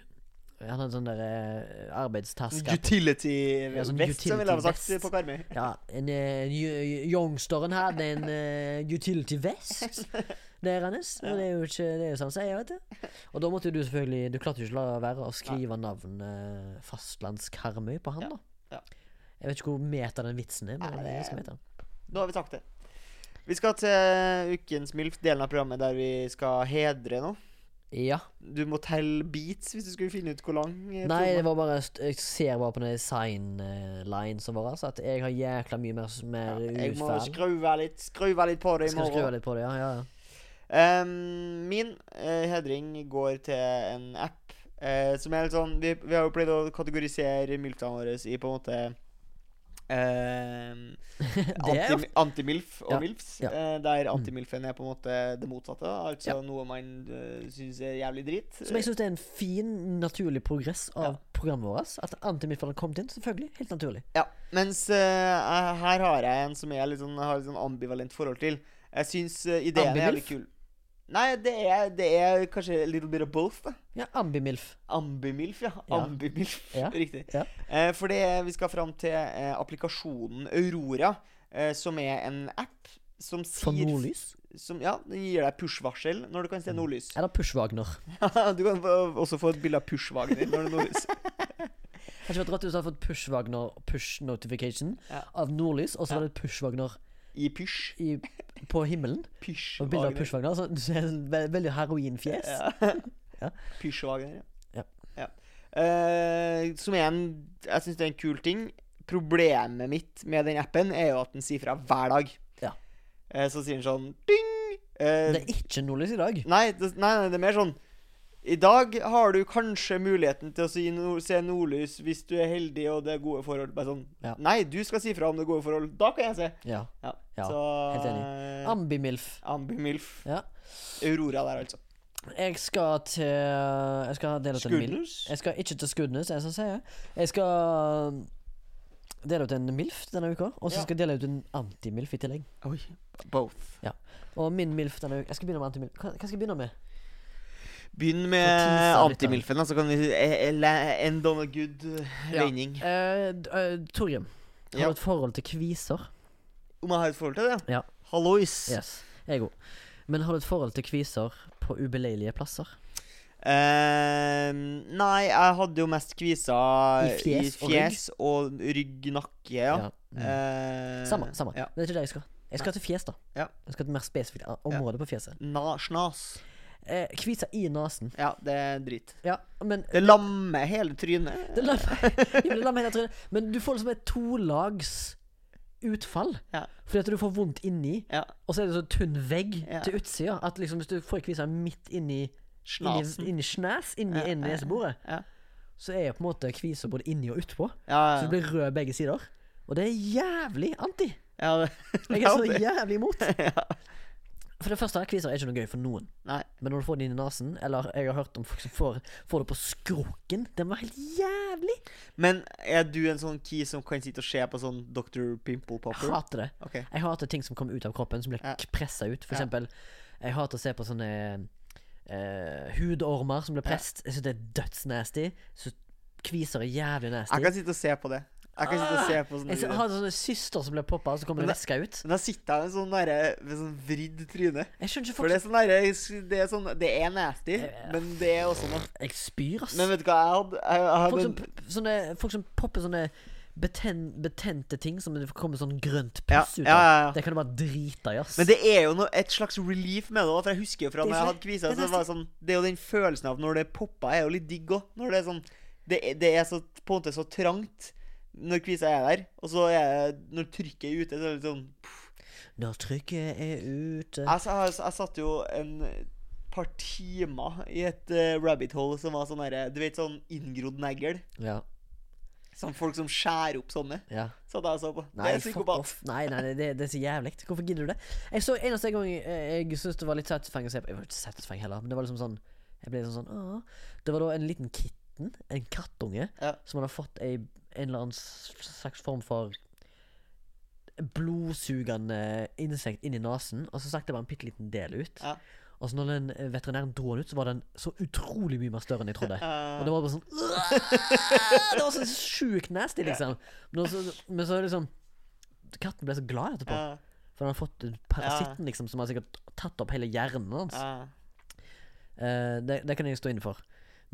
Speaker 1: Han hadde sånn der eh, arbeidstaske Ja, sånn
Speaker 2: Utility-vest, som ville ha sagt
Speaker 1: utility-vest.
Speaker 2: på Karmøy.
Speaker 1: Ja, en, eh, yo- youngsteren hadde en eh, utility vest der hans. Og det er jo ikke det er jo sånn sier, vet du. Og da måtte jo du selvfølgelig Du klarte jo ikke å la være å skrive navnet Fastlandskarmøy på han,
Speaker 2: Ja,
Speaker 1: da.
Speaker 2: ja.
Speaker 1: Jeg vet ikke hvor meta den vitsen er, men det
Speaker 2: Nei,
Speaker 1: er
Speaker 2: det-
Speaker 1: ganske meta.
Speaker 2: Da har vi sagt det. Vi skal til ukens MILF, delen av programmet der vi skal hedre noe.
Speaker 1: Ja.
Speaker 2: Du må telle beats hvis du skulle finne ut hvor lang eh,
Speaker 1: Nei,
Speaker 2: episoden
Speaker 1: det var bare st- Jeg ser bare på den sign-line som var her, så at jeg har jækla mye mer, mer
Speaker 2: Jeg må
Speaker 1: utfall.
Speaker 2: skru av litt, skru av litt på det i
Speaker 1: Skal skru
Speaker 2: morgen.
Speaker 1: litt på det, ja. ja, ja.
Speaker 2: Ehm, min eh, hedring går til en app eh, som er litt sånn Vi, vi har jo pleid å kategorisere milftene våre i på en måte ehm,
Speaker 1: Det er jo
Speaker 2: anti- Anti-milf og
Speaker 1: Ja,
Speaker 2: milfs.
Speaker 1: ja. Mm.
Speaker 2: eh, der antimilfen er på en måte det motsatte. da, Altså
Speaker 1: Ja.
Speaker 2: noe man uh, syns er jævlig drit.
Speaker 1: Som jeg syns er en fin, naturlig progress av
Speaker 2: Ja.
Speaker 1: programmet vårt. At antimidtbanen har kommet inn, selvfølgelig. Helt naturlig.
Speaker 2: Ja, mens eh, jeg- her har jeg en som jeg litt sånn, har litt sånn ambivalent forhold til. Jeg syns eh, ideen er jævlig
Speaker 1: Ambi-milf?
Speaker 2: kul. Nei, det er, det er kanskje a little bit of both. da.
Speaker 1: Ja, Ambimilf.
Speaker 2: Ambimilf, ja.
Speaker 1: Ja.
Speaker 2: Ambimilf,
Speaker 1: Ja,
Speaker 2: riktig.
Speaker 1: ja.
Speaker 2: Eh, for det, vi skal fram til eh, applikasjonen Aurora, eh, som er en app som sier
Speaker 1: For nordlys.
Speaker 2: Som, ja, den gir deg push-varsel når du kan se nordlys.
Speaker 1: Eller Pushwagner. Har
Speaker 2: du kan få- også få et bilde av push-Wagner når det er nordlys.
Speaker 1: ikke vært rått hvis du hadde fått Pushwagner push notification
Speaker 2: Ja.
Speaker 1: av nordlys, og så var det et Pushwagner
Speaker 2: I push.
Speaker 1: i, på himmelen. Og bilde av
Speaker 2: Push-Wagner.
Speaker 1: Pushwagner. Så du ser en ve veldig heroinfjes.
Speaker 2: Pysjevagner,
Speaker 1: Ja.
Speaker 2: ja. Eh, som er en Jeg syns det er en kul ting. Problemet mitt med den appen er jo at den sier fra hver dag.
Speaker 1: Ja.
Speaker 2: Eh, så sier den sånn ding! Eh,
Speaker 1: Det er ikke nordlys i dag.
Speaker 2: nei, det, nei, nei, det er mer sånn I dag har du kanskje muligheten til å si nord, se nordlys hvis du er heldig og det er gode forhold. Bare sånn
Speaker 1: Ja.
Speaker 2: Nei, du skal si fra om det er gode forhold. Da kan jeg se.
Speaker 1: Ja.
Speaker 2: Ja,
Speaker 1: Ja,
Speaker 2: så
Speaker 1: helt
Speaker 2: enig.
Speaker 1: Ambimilf.
Speaker 2: Ambimilf.
Speaker 1: Ja.
Speaker 2: Aurora der, altså.
Speaker 1: Jeg skal til Jeg skal dele ut en mil.
Speaker 2: Skuddlus?
Speaker 1: Jeg skal ikke til Skudenes, jeg som sier. Jeg skal um, dele ut en MILF denne uka, og så
Speaker 2: Ja.
Speaker 1: skal jeg dele ut en anti-MILF i tillegg.
Speaker 2: Oi. Both.
Speaker 1: Og min MILF denne uka Jeg skal begynne med anti-MILF. Hva hva skal jeg begynne med?
Speaker 2: Begynn med
Speaker 1: tease litt, da.
Speaker 2: antimilfen, da, så kan vi eh, la- end on a good eh,
Speaker 1: Ja.
Speaker 2: vending.
Speaker 1: Eh, d- eh, Torgrim, har
Speaker 2: Ja.
Speaker 1: du et forhold til kviser?
Speaker 2: Om jeg har et forhold til det?
Speaker 1: Ja.
Speaker 2: Hallois.
Speaker 1: Yes, jeg òg. Men har du et forhold til kviser på ubeleilige plasser?
Speaker 2: Eh, nei, jeg hadde jo mest kviser
Speaker 1: I fjes og
Speaker 2: i
Speaker 1: rygg.
Speaker 2: fjes og rygg, nakke. Ja.
Speaker 1: Ja. Mm.
Speaker 2: Eh,
Speaker 1: Samme. samme
Speaker 2: Ja.
Speaker 1: Men det er ikke det jeg skal. Jeg skal til fjes, da.
Speaker 2: Ja.
Speaker 1: Jeg skal til et mer spesifikt a- område på fjeset.
Speaker 2: Na, snas.
Speaker 1: Eh, Kvisa i nesen.
Speaker 2: Ja, det er drit.
Speaker 1: Ja, men
Speaker 2: Det lammer hele trynet.
Speaker 1: det, la, Jo, men det la meg helt trynet. Men du får liksom et tolags utfall.
Speaker 2: Ja.
Speaker 1: Fordi at du får vondt inni,
Speaker 2: Ja.
Speaker 1: og så er det så tynn vegg
Speaker 2: Ja.
Speaker 1: til utsida at liksom hvis du får kvisa midt inni
Speaker 2: Snasen.
Speaker 1: Inni, inni snas, inni,
Speaker 2: Ja,
Speaker 1: inni
Speaker 2: ja, ja.
Speaker 1: neseboret,
Speaker 2: Ja.
Speaker 1: så er på en måte kvisa både inni og utpå.
Speaker 2: Ja,
Speaker 1: Så det
Speaker 2: ja.
Speaker 1: blir rød begge sider. Og det er jævlig anti.
Speaker 2: ja det,
Speaker 1: Jeg er så
Speaker 2: det-
Speaker 1: jævlig imot.
Speaker 2: ja.
Speaker 1: For det første, kviser er ikke noe gøy for noen.
Speaker 2: Nei.
Speaker 1: Men når du får det inn i nesen, eller jeg har hørt om folk som får, får det på skroken Den var helt jævlig!
Speaker 2: Men er du en sånn key som kan sitte og se på sånn Dr. Pimple
Speaker 1: Jeg
Speaker 2: Popper?
Speaker 1: hater det.
Speaker 2: Ok.
Speaker 1: Jeg hater ting som kommer ut av kroppen, som blir
Speaker 2: Ja.
Speaker 1: pressa ut. For
Speaker 2: Ja.
Speaker 1: eksempel, jeg hater å se på sånne eh, hudormer som blir presset. Jeg syns det er dødsnasty. Så kviser er jævlig nasty.
Speaker 2: Jeg kan sitte og se på det. Jeg kan sitte og se på sånne
Speaker 1: Ah. Jeg
Speaker 2: videoer.
Speaker 1: har sånne søster som blir poppa, og så kommer
Speaker 2: Men
Speaker 1: det
Speaker 2: det-
Speaker 1: væske ut.
Speaker 2: Men da sitter jeg med sånn derre med sånn vridd tryne.
Speaker 1: Jeg skjønner ikke
Speaker 2: For det
Speaker 1: folk
Speaker 2: er sånn derre Det er sånn Det er nasty, men det er også noe
Speaker 1: som Jeg spyr, ass.
Speaker 2: Men vet du hva jeg hadde? Jeg, jeg
Speaker 1: Folk
Speaker 2: hadde
Speaker 1: som,
Speaker 2: en,
Speaker 1: p- sånne, folk som popper sånne beten, betente ting som det kommer sånn grønt
Speaker 2: Ja,
Speaker 1: puss ut av.
Speaker 2: ja, ja, ja.
Speaker 1: Det kan du bare drite i, ass.
Speaker 2: men det er jo noe, et slags relief med det òg, for jeg husker jo fra
Speaker 1: Det er
Speaker 2: når jeg
Speaker 1: så-
Speaker 2: hadde kvisa,
Speaker 1: det er
Speaker 2: så var det sånn Det er jo den følelsen av når det poppa, er jo litt digg òg. Når det er sånn det, er- det er så, på en måte så trangt når kvisa er der, og så er det- Når trykket er ute, så er det litt sånn altså,
Speaker 1: Når trykket er ute
Speaker 2: Jeg, sa- jeg, jeg satt jo en par timer i et eh, rabbit hole som var sånn derre Du vet sånn inngrodd negl?
Speaker 1: Ja,
Speaker 2: Sånn folk som skjærer opp sånne.
Speaker 1: ja.
Speaker 2: Satt jeg og så på.
Speaker 1: Nei,
Speaker 2: det er
Speaker 1: fuck
Speaker 2: psykopat.
Speaker 1: off. Nei, nei, det, det er så jævlig. Hvorfor gidder du det? Jeg så Eneste gang jeg, eh, jeg syntes det var litt satisfying å se på Jeg var ikke satisfying heller, men det var liksom sånn Jeg ble liksom sånn Åh. Det var da en liten kitten, en kattunge,
Speaker 2: Ja.
Speaker 1: som hadde fått ei, en eller annen slags form for blodsugende insekt inn i nesen, og så stakk det bare en bitte liten del ut.
Speaker 2: Ja.
Speaker 1: Og så når den eh, veterinæren dro den ut, så var den så utrolig mye mer større enn jeg trodde.
Speaker 2: Eh,
Speaker 1: Og det var bare sånn Det var så sjukt nasty, liksom. Men så, men så er det liksom Katten ble så glad etterpå.
Speaker 2: ja,
Speaker 1: For han har fått parasitten liksom som har sikkert tatt opp hele hjernen hans.
Speaker 2: ja.
Speaker 1: Eh, det, det kan jeg stå inne for.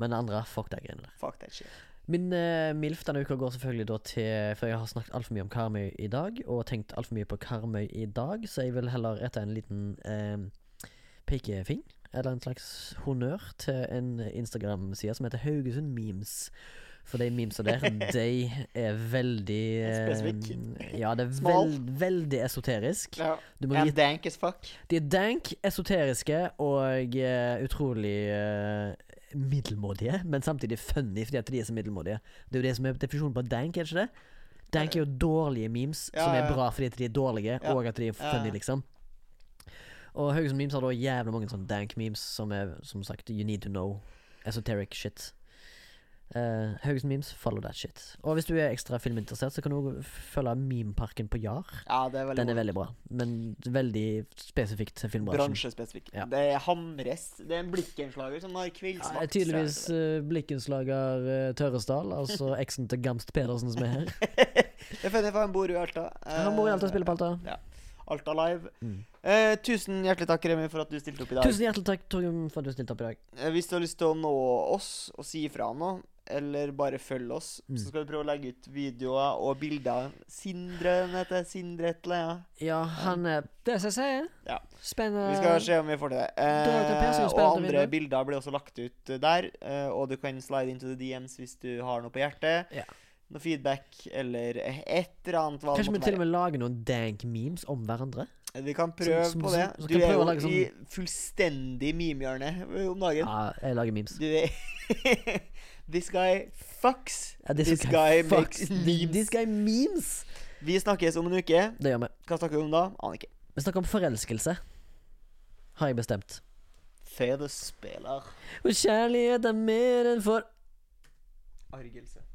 Speaker 1: Men det andre fuck de greiene der.
Speaker 2: fuck that shit.
Speaker 1: Min eh, MILF denne uka går selvfølgelig da til For jeg har snakket altfor mye om Karmøy i dag, og tenkt altfor mye på Karmøy i dag, så jeg vil heller rette en liten eh, pekefing, eller en slags honnør, til en Instagram-side som heter Haugesund Memes. For de memesa der, de er veldig eh,
Speaker 2: Spesifikk.
Speaker 1: Ja, det er
Speaker 2: Smal.
Speaker 1: vel, veldig esoterisk.
Speaker 2: Ja.
Speaker 1: Du må
Speaker 2: And
Speaker 1: vite
Speaker 2: dank as fuck.
Speaker 1: De er dank, esoteriske og eh, utrolig eh, middelmådige, men samtidig funny fordi at de er så middelmådige. Det er jo det som er definisjonen på dank, er det ikke det? Dank er jo dårlige memes
Speaker 2: Ja,
Speaker 1: som
Speaker 2: ja,
Speaker 1: er
Speaker 2: ja.
Speaker 1: bra fordi at de er dårlige,
Speaker 2: Ja.
Speaker 1: og at de er
Speaker 2: Ja, ja.
Speaker 1: funny, liksom. Og Haugesund Memes har da jævlig mange sånne dank memes som er som sagt you need to know. Esoteric shit. Eh, Haugesund Memes, follow that shit. Og hvis du er ekstra filminteressert, så kan du også følge Memeparken på Jar.
Speaker 2: Ja, det er veldig,
Speaker 1: Den er
Speaker 2: bra.
Speaker 1: veldig bra, men veldig spesifikt til filmbransjen.
Speaker 2: bransjespesifikk.
Speaker 1: Ja.
Speaker 2: Det er Hamres. Det er en blikkenslager som har kveldsmakt.
Speaker 1: Ja, tydeligvis eh, blikkenslager eh, Tørresdal, altså eksen til Gamst Pedersen som er her.
Speaker 2: Det er funny, for han bor i Alta.
Speaker 1: Han bor i Alta og spiller på Alta. Mm.
Speaker 2: Alta Live. Eh, tusen hjertelig takk, Remi, for at du stilte opp i dag.
Speaker 1: Tusen hjertelig takk, Torgrim, for at du stilte opp i dag.
Speaker 2: Eh, Hvis du har lyst til å nå oss og si ifra noe, eller bare følg oss,
Speaker 1: Mm.
Speaker 2: så skal vi prøve å legge ut videoer og bilder. Sindre, den heter Sindre et eller annet.
Speaker 1: Ja, han er Det som jeg sier.
Speaker 2: Ja. Vi skal
Speaker 1: Spennende.
Speaker 2: se om vi får til det.
Speaker 1: Da er det Per
Speaker 2: Eh,
Speaker 1: som
Speaker 2: og
Speaker 1: spiller til
Speaker 2: andre
Speaker 1: vinduet.
Speaker 2: bilder blir også lagt ut eh, der. eh, og du kan slide into the DMs hvis du har noe på hjertet.
Speaker 1: Ja.
Speaker 2: Noe feedback eller et eller annet. Hva
Speaker 1: Kanskje vi
Speaker 2: det
Speaker 1: til og
Speaker 2: måtte være.
Speaker 1: med lager noen dank memes om hverandre?
Speaker 2: Vi kan prøve
Speaker 1: som-
Speaker 2: på
Speaker 1: som-
Speaker 2: det.
Speaker 1: som
Speaker 2: Du
Speaker 1: kan
Speaker 2: er
Speaker 1: prøve å
Speaker 2: jo
Speaker 1: lage sånn-
Speaker 2: i fullstendig mimehjørne eh, om dagen.
Speaker 1: Ja, jeg lager memes.
Speaker 2: Du er This guy fucks.
Speaker 1: Ja,
Speaker 2: this, guy,
Speaker 1: fucks-
Speaker 2: makes memes.
Speaker 1: This guy memes.
Speaker 2: Vi snakkes om en uke.
Speaker 1: Det gjør vi.
Speaker 2: Hva snakker vi om da? Aner ikke.
Speaker 1: Vi snakker om forelskelse. Har jeg bestemt.
Speaker 2: Fedespiller.
Speaker 1: Og kjærlighet er mer enn for
Speaker 2: Argelse.